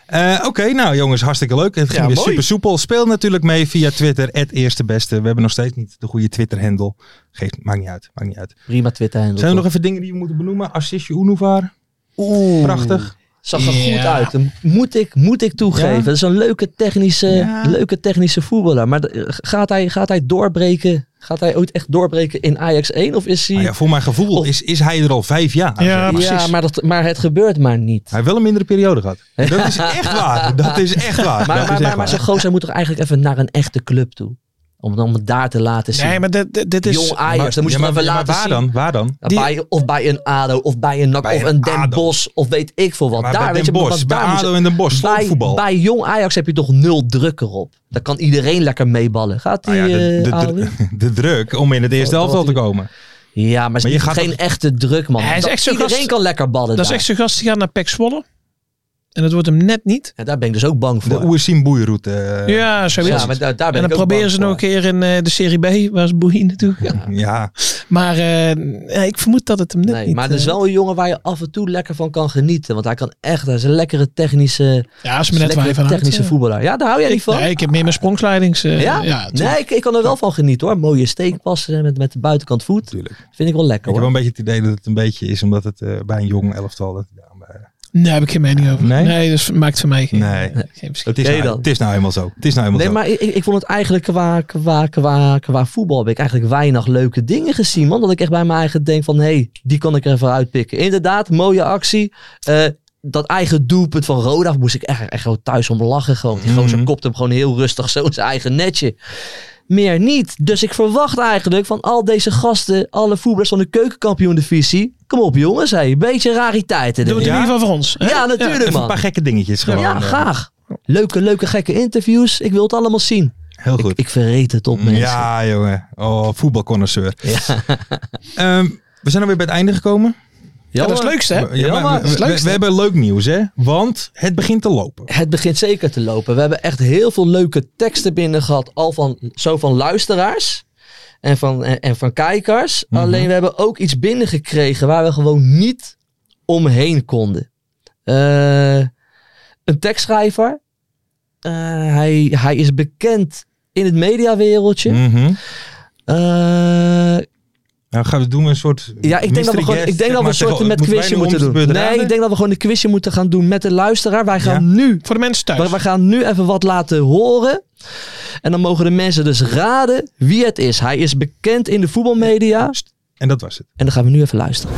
S3: Eh, Oké, nou jongens, hartstikke leuk. Het ging
S4: Ja,
S3: weer
S4: mooi.
S3: super soepel. Speel natuurlijk mee via Twitter, het eerste beste. We hebben nog steeds niet de goede Twitter-handle. Geeft, maakt niet uit, maakt niet uit.
S4: Prima Twitter
S3: Zijn er nog even dingen die we moeten benoemen? Assistje Unuvar,
S4: Oh.
S3: prachtig.
S4: Zag er
S5: Ja.
S4: goed uit. Dan Moet ik, moet ik toegeven.
S3: Ja.
S4: Dat is een leuke technische,
S3: Ja.
S4: leuke technische voetballer. Maar de- eh, gaat hij, gaat hij doorbreken? Gaat hij ooit echt doorbreken in Ajax 1? Of is hij...
S3: Nou ja, voor mijn gevoel
S4: Of-
S3: is, is hij er al vijf jaar.
S5: Ja,
S3: Hij
S5: precies.
S4: Oh. Ja, maar, dat, maar het gebeurt maar niet.
S3: heeft wel een mindere periode gehad. Dat is echt waar. Dat is echt waar. Dat
S4: Maar, maar,
S3: is echt
S4: maar, maar
S3: waar.
S4: zo'n gozer moet toch eigenlijk even naar een echte club toe? Om, om het daar te laten zien.
S5: Nee, maar dit, dit, dit is...
S4: Jong Ajax, dat moet je
S3: ja,
S4: dan
S3: maar-
S4: even
S3: ja, maar
S4: laten
S3: waar
S4: zien.
S3: dan? Waar dan?
S4: Ja,
S5: Die-
S4: bij, of bij een ADO, of bij een NAC,
S3: Bij
S4: of
S3: een
S4: een Den
S3: ADO.
S4: Bosch, of weet ik veel wat.
S3: Maar
S4: daar,
S3: bij
S4: weet
S3: Den
S4: je, maar
S3: Bosch,
S4: wat
S3: bij
S4: daar moet-
S3: ADO en Den Bosch, sloopvoetbal.
S4: bij, bij jong Ajax heb je toch nul drukker op. Dan kan iedereen lekker meeballen. Gaat die
S3: Nou ja, de,
S4: eh,
S3: de,
S4: ADO weer?
S3: de, de druk om in het eerste
S4: Oh,
S3: elftal te
S4: dat-
S3: komen.
S4: Ja, maar,
S3: Maar
S4: het
S3: je
S4: is
S3: gaat
S4: geen
S3: toch-
S4: echte druk, man.
S5: Hij is
S4: Dat-
S5: echt zo'n
S4: iedereen
S5: gast-
S4: kan lekker ballen
S5: Dat is
S4: daar.
S5: echt zo'n gast die gaat naar Pek Zwolle. En dat wordt hem net niet.
S4: Ja, daar ben ik dus ook bang
S3: De
S4: voor.
S3: Oersim Boeiroute. eh,
S5: ja, zo
S4: ja,
S5: is
S4: maar
S5: het.
S4: daar, daar ben
S5: En
S4: ik
S5: dan
S4: ook
S5: proberen
S4: bang
S5: ze nog een
S4: voor.
S5: keer in eh, de Serie B, waar is Boeien naartoe gegaan.
S3: ja.
S5: Maar eh, nee, ik vermoed dat het hem net
S4: Nee,
S5: niet...
S4: maar het is
S5: eh,
S4: wel een jongen waar je af en toe lekker van kan genieten. Want hij kan echt, hij is een lekkere technische,
S5: Ja, als
S4: is
S5: me
S4: een
S5: net waar
S4: lekkere
S5: je van houdt,
S4: technische
S5: ja.
S4: voetballer. Ja, daar hou jij niet van.
S5: Nee, ik heb meer mijn sprongsleidings... eh,
S4: ja?
S5: ja,
S4: nee, ik, ik kan er wel van genieten hoor. Mooie steekpassen met, met de buitenkant voet.
S3: Tuurlijk.
S4: Vind ik wel
S3: Ik
S4: lekker
S3: heb wel
S4: hoor.
S3: een beetje het idee dat het een beetje is omdat het eh, bij een jong elftal. Dat, ja, maar-
S5: Nee, daar heb ik geen mening over.
S3: Nee?
S5: Nee, dus maakt voor mij geen,
S3: Nee.
S5: geen verschil.
S3: het, is
S4: Oké
S3: nou,
S4: dan.
S3: het is nou helemaal zo. Het is nou helemaal
S4: Nee,
S3: zo.
S4: maar ik, ik ik vond het eigenlijk qua, qua, qua, qua voetbal heb ik eigenlijk weinig leuke dingen gezien. Man. Dat ik echt bij mijn eigen denk van, hé, hey, die kan ik er even uitpikken. Inderdaad, mooie actie. Eh, dat eigen doelpunt van Roda moest ik echt, echt gewoon thuis om lachen. Gewoon. Die gozer
S3: Mhm.
S4: kopt hem gewoon heel rustig zo in zijn eigen netje. Meer niet. Dus ik verwacht eigenlijk van al deze gasten, alle voetballers van de keukenkampioen divisie. Kom op jongens, hey, een beetje rariteiten.
S5: Doe
S4: erin.
S3: Ja?
S5: het in ieder geval voor ons. hè?
S4: Ja, nou- natuurlijk
S3: Even een
S4: man.
S3: paar gekke dingetjes gewoon.
S4: Ja,
S3: eh,
S4: graag. Leuke, leuke, gekke interviews. Ik wil het allemaal zien.
S3: eh, Heel goed.
S4: Ik, ik verreet het op, mensen.
S3: Ja, jongen. Oh, voetbalconnoisseur.
S4: Ja.
S3: Ehm, we zijn alweer bij het einde gekomen.
S5: Ja, dat is het leukste, hè?
S3: Ja, maar we,
S4: maar dat is het
S3: we-
S4: leukste.
S3: we hebben leuk nieuws, hè? Want het begint te lopen.
S4: Het begint zeker te lopen. We hebben echt heel veel leuke teksten binnen gehad. Al van, zo van luisteraars en van, en, en van kijkers. Alleen we hebben ook iets binnengekregen waar we gewoon niet omheen konden. Eh, een tekstschrijver. Eh, hij, hij is bekend in het mediawereldje.
S3: Mhm.
S4: Eh,
S3: Nou, gaan we doen we een soort.
S4: Ja, ik denk dat we
S3: mystery
S4: gewoon,
S3: guest,
S4: ik
S3: zeg
S4: denk dat we
S3: maar,
S4: een soort
S3: tegen-
S4: met
S3: moeten wij
S4: quizje
S3: nu
S4: moeten
S3: om
S4: doen.
S3: te
S4: Nee,
S3: bedraden?
S4: ik denk dat we gewoon een quizje moeten gaan doen met de luisteraar. Wij gaan nu,
S5: Voor de mensen thuis.
S4: we, we gaan nu even wat laten horen. En dan mogen de mensen dus raden wie het is. Hij is bekend in de voetbalmedia.
S3: En dat was het.
S4: En dan gaan we nu even luisteren.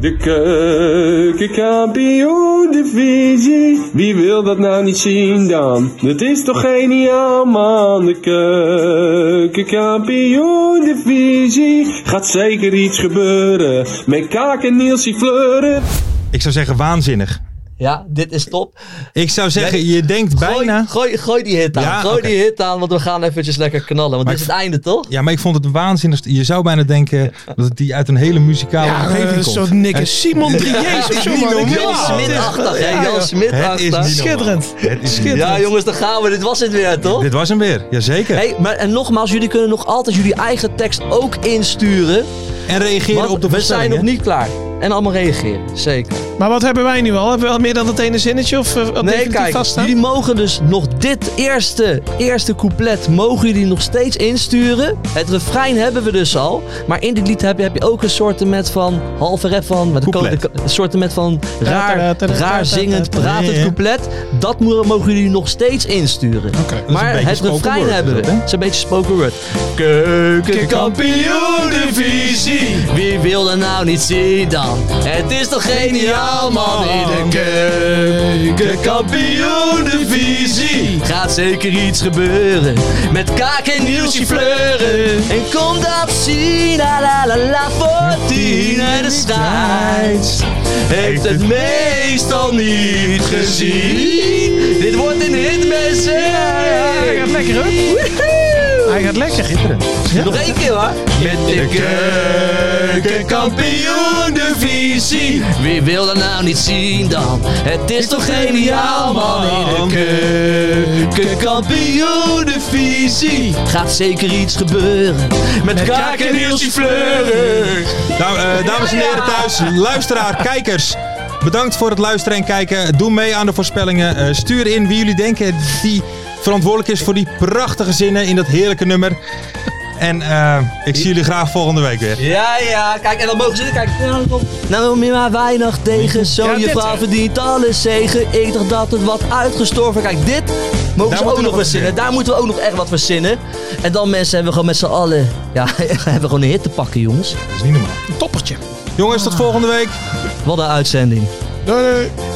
S7: De keukenkampioen divisie. Wie wil dat nou niet zien dan? Dat is toch geniaal man. De keukenkampioen divisie. Gaat zeker iets gebeuren. Met Kaak en Nielsie Fleuren.
S3: Ik zou zeggen waanzinnig.
S4: Ja, dit is top.
S3: Ik zou zeggen, je denkt
S4: Gooi,
S3: bijna.
S4: gooi, gooi die hit aan.
S3: Ja,
S4: gooi
S3: oké.
S4: die hit aan, want we gaan eventjes lekker knallen. Want
S3: Maar
S4: dit is
S3: ik-
S4: het einde, toch?
S3: Ja, maar ik vond het een waanzinnig. Je zou bijna denken dat het die uit een hele muzikale
S5: ja,
S3: omgeving
S5: eh,
S3: komt.
S5: zo'n Nick en Simon
S4: Ja,
S5: 3 of
S4: het is
S5: zo,
S4: niet
S5: man.
S4: normaal.
S5: Ja,
S4: Jan Smit-achtig, hè? Jan
S3: Het is
S4: Smit-achtig.
S3: niet normaal.
S5: Schitterend.
S3: Het is niet
S4: Ja, jongens, daar gaan we. Dit was het weer, toch?
S3: Dit was hem weer, jazeker.
S4: Hey, maar en nogmaals, jullie kunnen nog altijd jullie eigen tekst ook insturen.
S3: En reageren
S4: want
S3: op de
S4: we zijn nog
S3: voorspellingen.
S4: niet klaar. En allemaal reageren, zeker.
S5: Maar wat hebben wij nu al? Hebben we al meer dan dat ene zinnetje? Of eh, al
S4: Nee,
S5: definitief
S4: kijk,
S5: vaststaan?
S4: jullie mogen dus nog dit eerste, eerste couplet mogen jullie nog steeds insturen. Het refrein hebben we dus al. Maar in dit lied heb je, heb je ook een soortement van halve rap van... maar de
S3: Couplet.
S4: ko- de ko- Een soortement van
S5: ta-
S4: raar,
S5: ta- ta- ta-
S4: raar zingend,
S5: ta- ta-
S4: pratend
S3: Ja, ja.
S4: couplet. Dat mo- mogen jullie nog steeds insturen.
S5: Oké.
S3: is een
S4: Maar
S3: beetje
S4: het
S3: spoken
S4: refrein
S3: word,
S4: hebben we.
S3: is dat, hè?
S4: Het is een beetje spoken word. Keukenkampioen divisie. Wie wil dat nou niet zien dan? Het is toch geniaal man in de keukenkampioen divisie. Gaat zeker iets gebeuren. Met kaak en nieuwsje fleuren. En kom dat zien. La la la la voor tien. En de scheids heeft het meestal niet gezien. Dit wordt een hit
S5: Hij
S4: mensen.
S5: gaat lekker, hoor. Hij gaat lekker.
S4: Nog één keer hoor. Met de keukenkampioen divisie. Wie wil dat nou niet zien dan? Het is toch geniaal man in de keukenkampioen divisie. Gaat zeker iets gebeuren. Met kaak en Nielsie Fleuren.
S3: Nou, eh, dames en heren thuis, luisteraar, kijkers. Bedankt voor het luisteren en kijken. Doe mee aan de voorspellingen. Eh, stuur in wie jullie denken die verantwoordelijk is voor die prachtige zinnen in dat heerlijke nummer. En eh, ik zie jullie graag volgende week weer.
S4: Ja, ja, kijk, en dan mogen ze er kijken. Ja, dan komt- Nou, meer maar weinig tegen. Zo, je
S5: dit,
S4: vrouw
S5: hè.
S4: verdient alles zegen. Ik dacht dat het wat uitgestorven. Kijk, dit mogen
S3: Daar
S4: ze
S3: moeten we
S4: ook
S3: nog
S4: nog
S3: wat
S4: verzinnen.
S3: voor.
S4: Daar moeten we ook nog echt wat verzinnen. En dan, mensen, hebben we gewoon met z'n allen. Ja, hebben we gewoon een hit te pakken, jongens.
S3: Dat is niet normaal.
S5: Toppertje.
S3: Jongens, tot volgende week.
S4: Wat een uitzending.
S5: Doei, doei.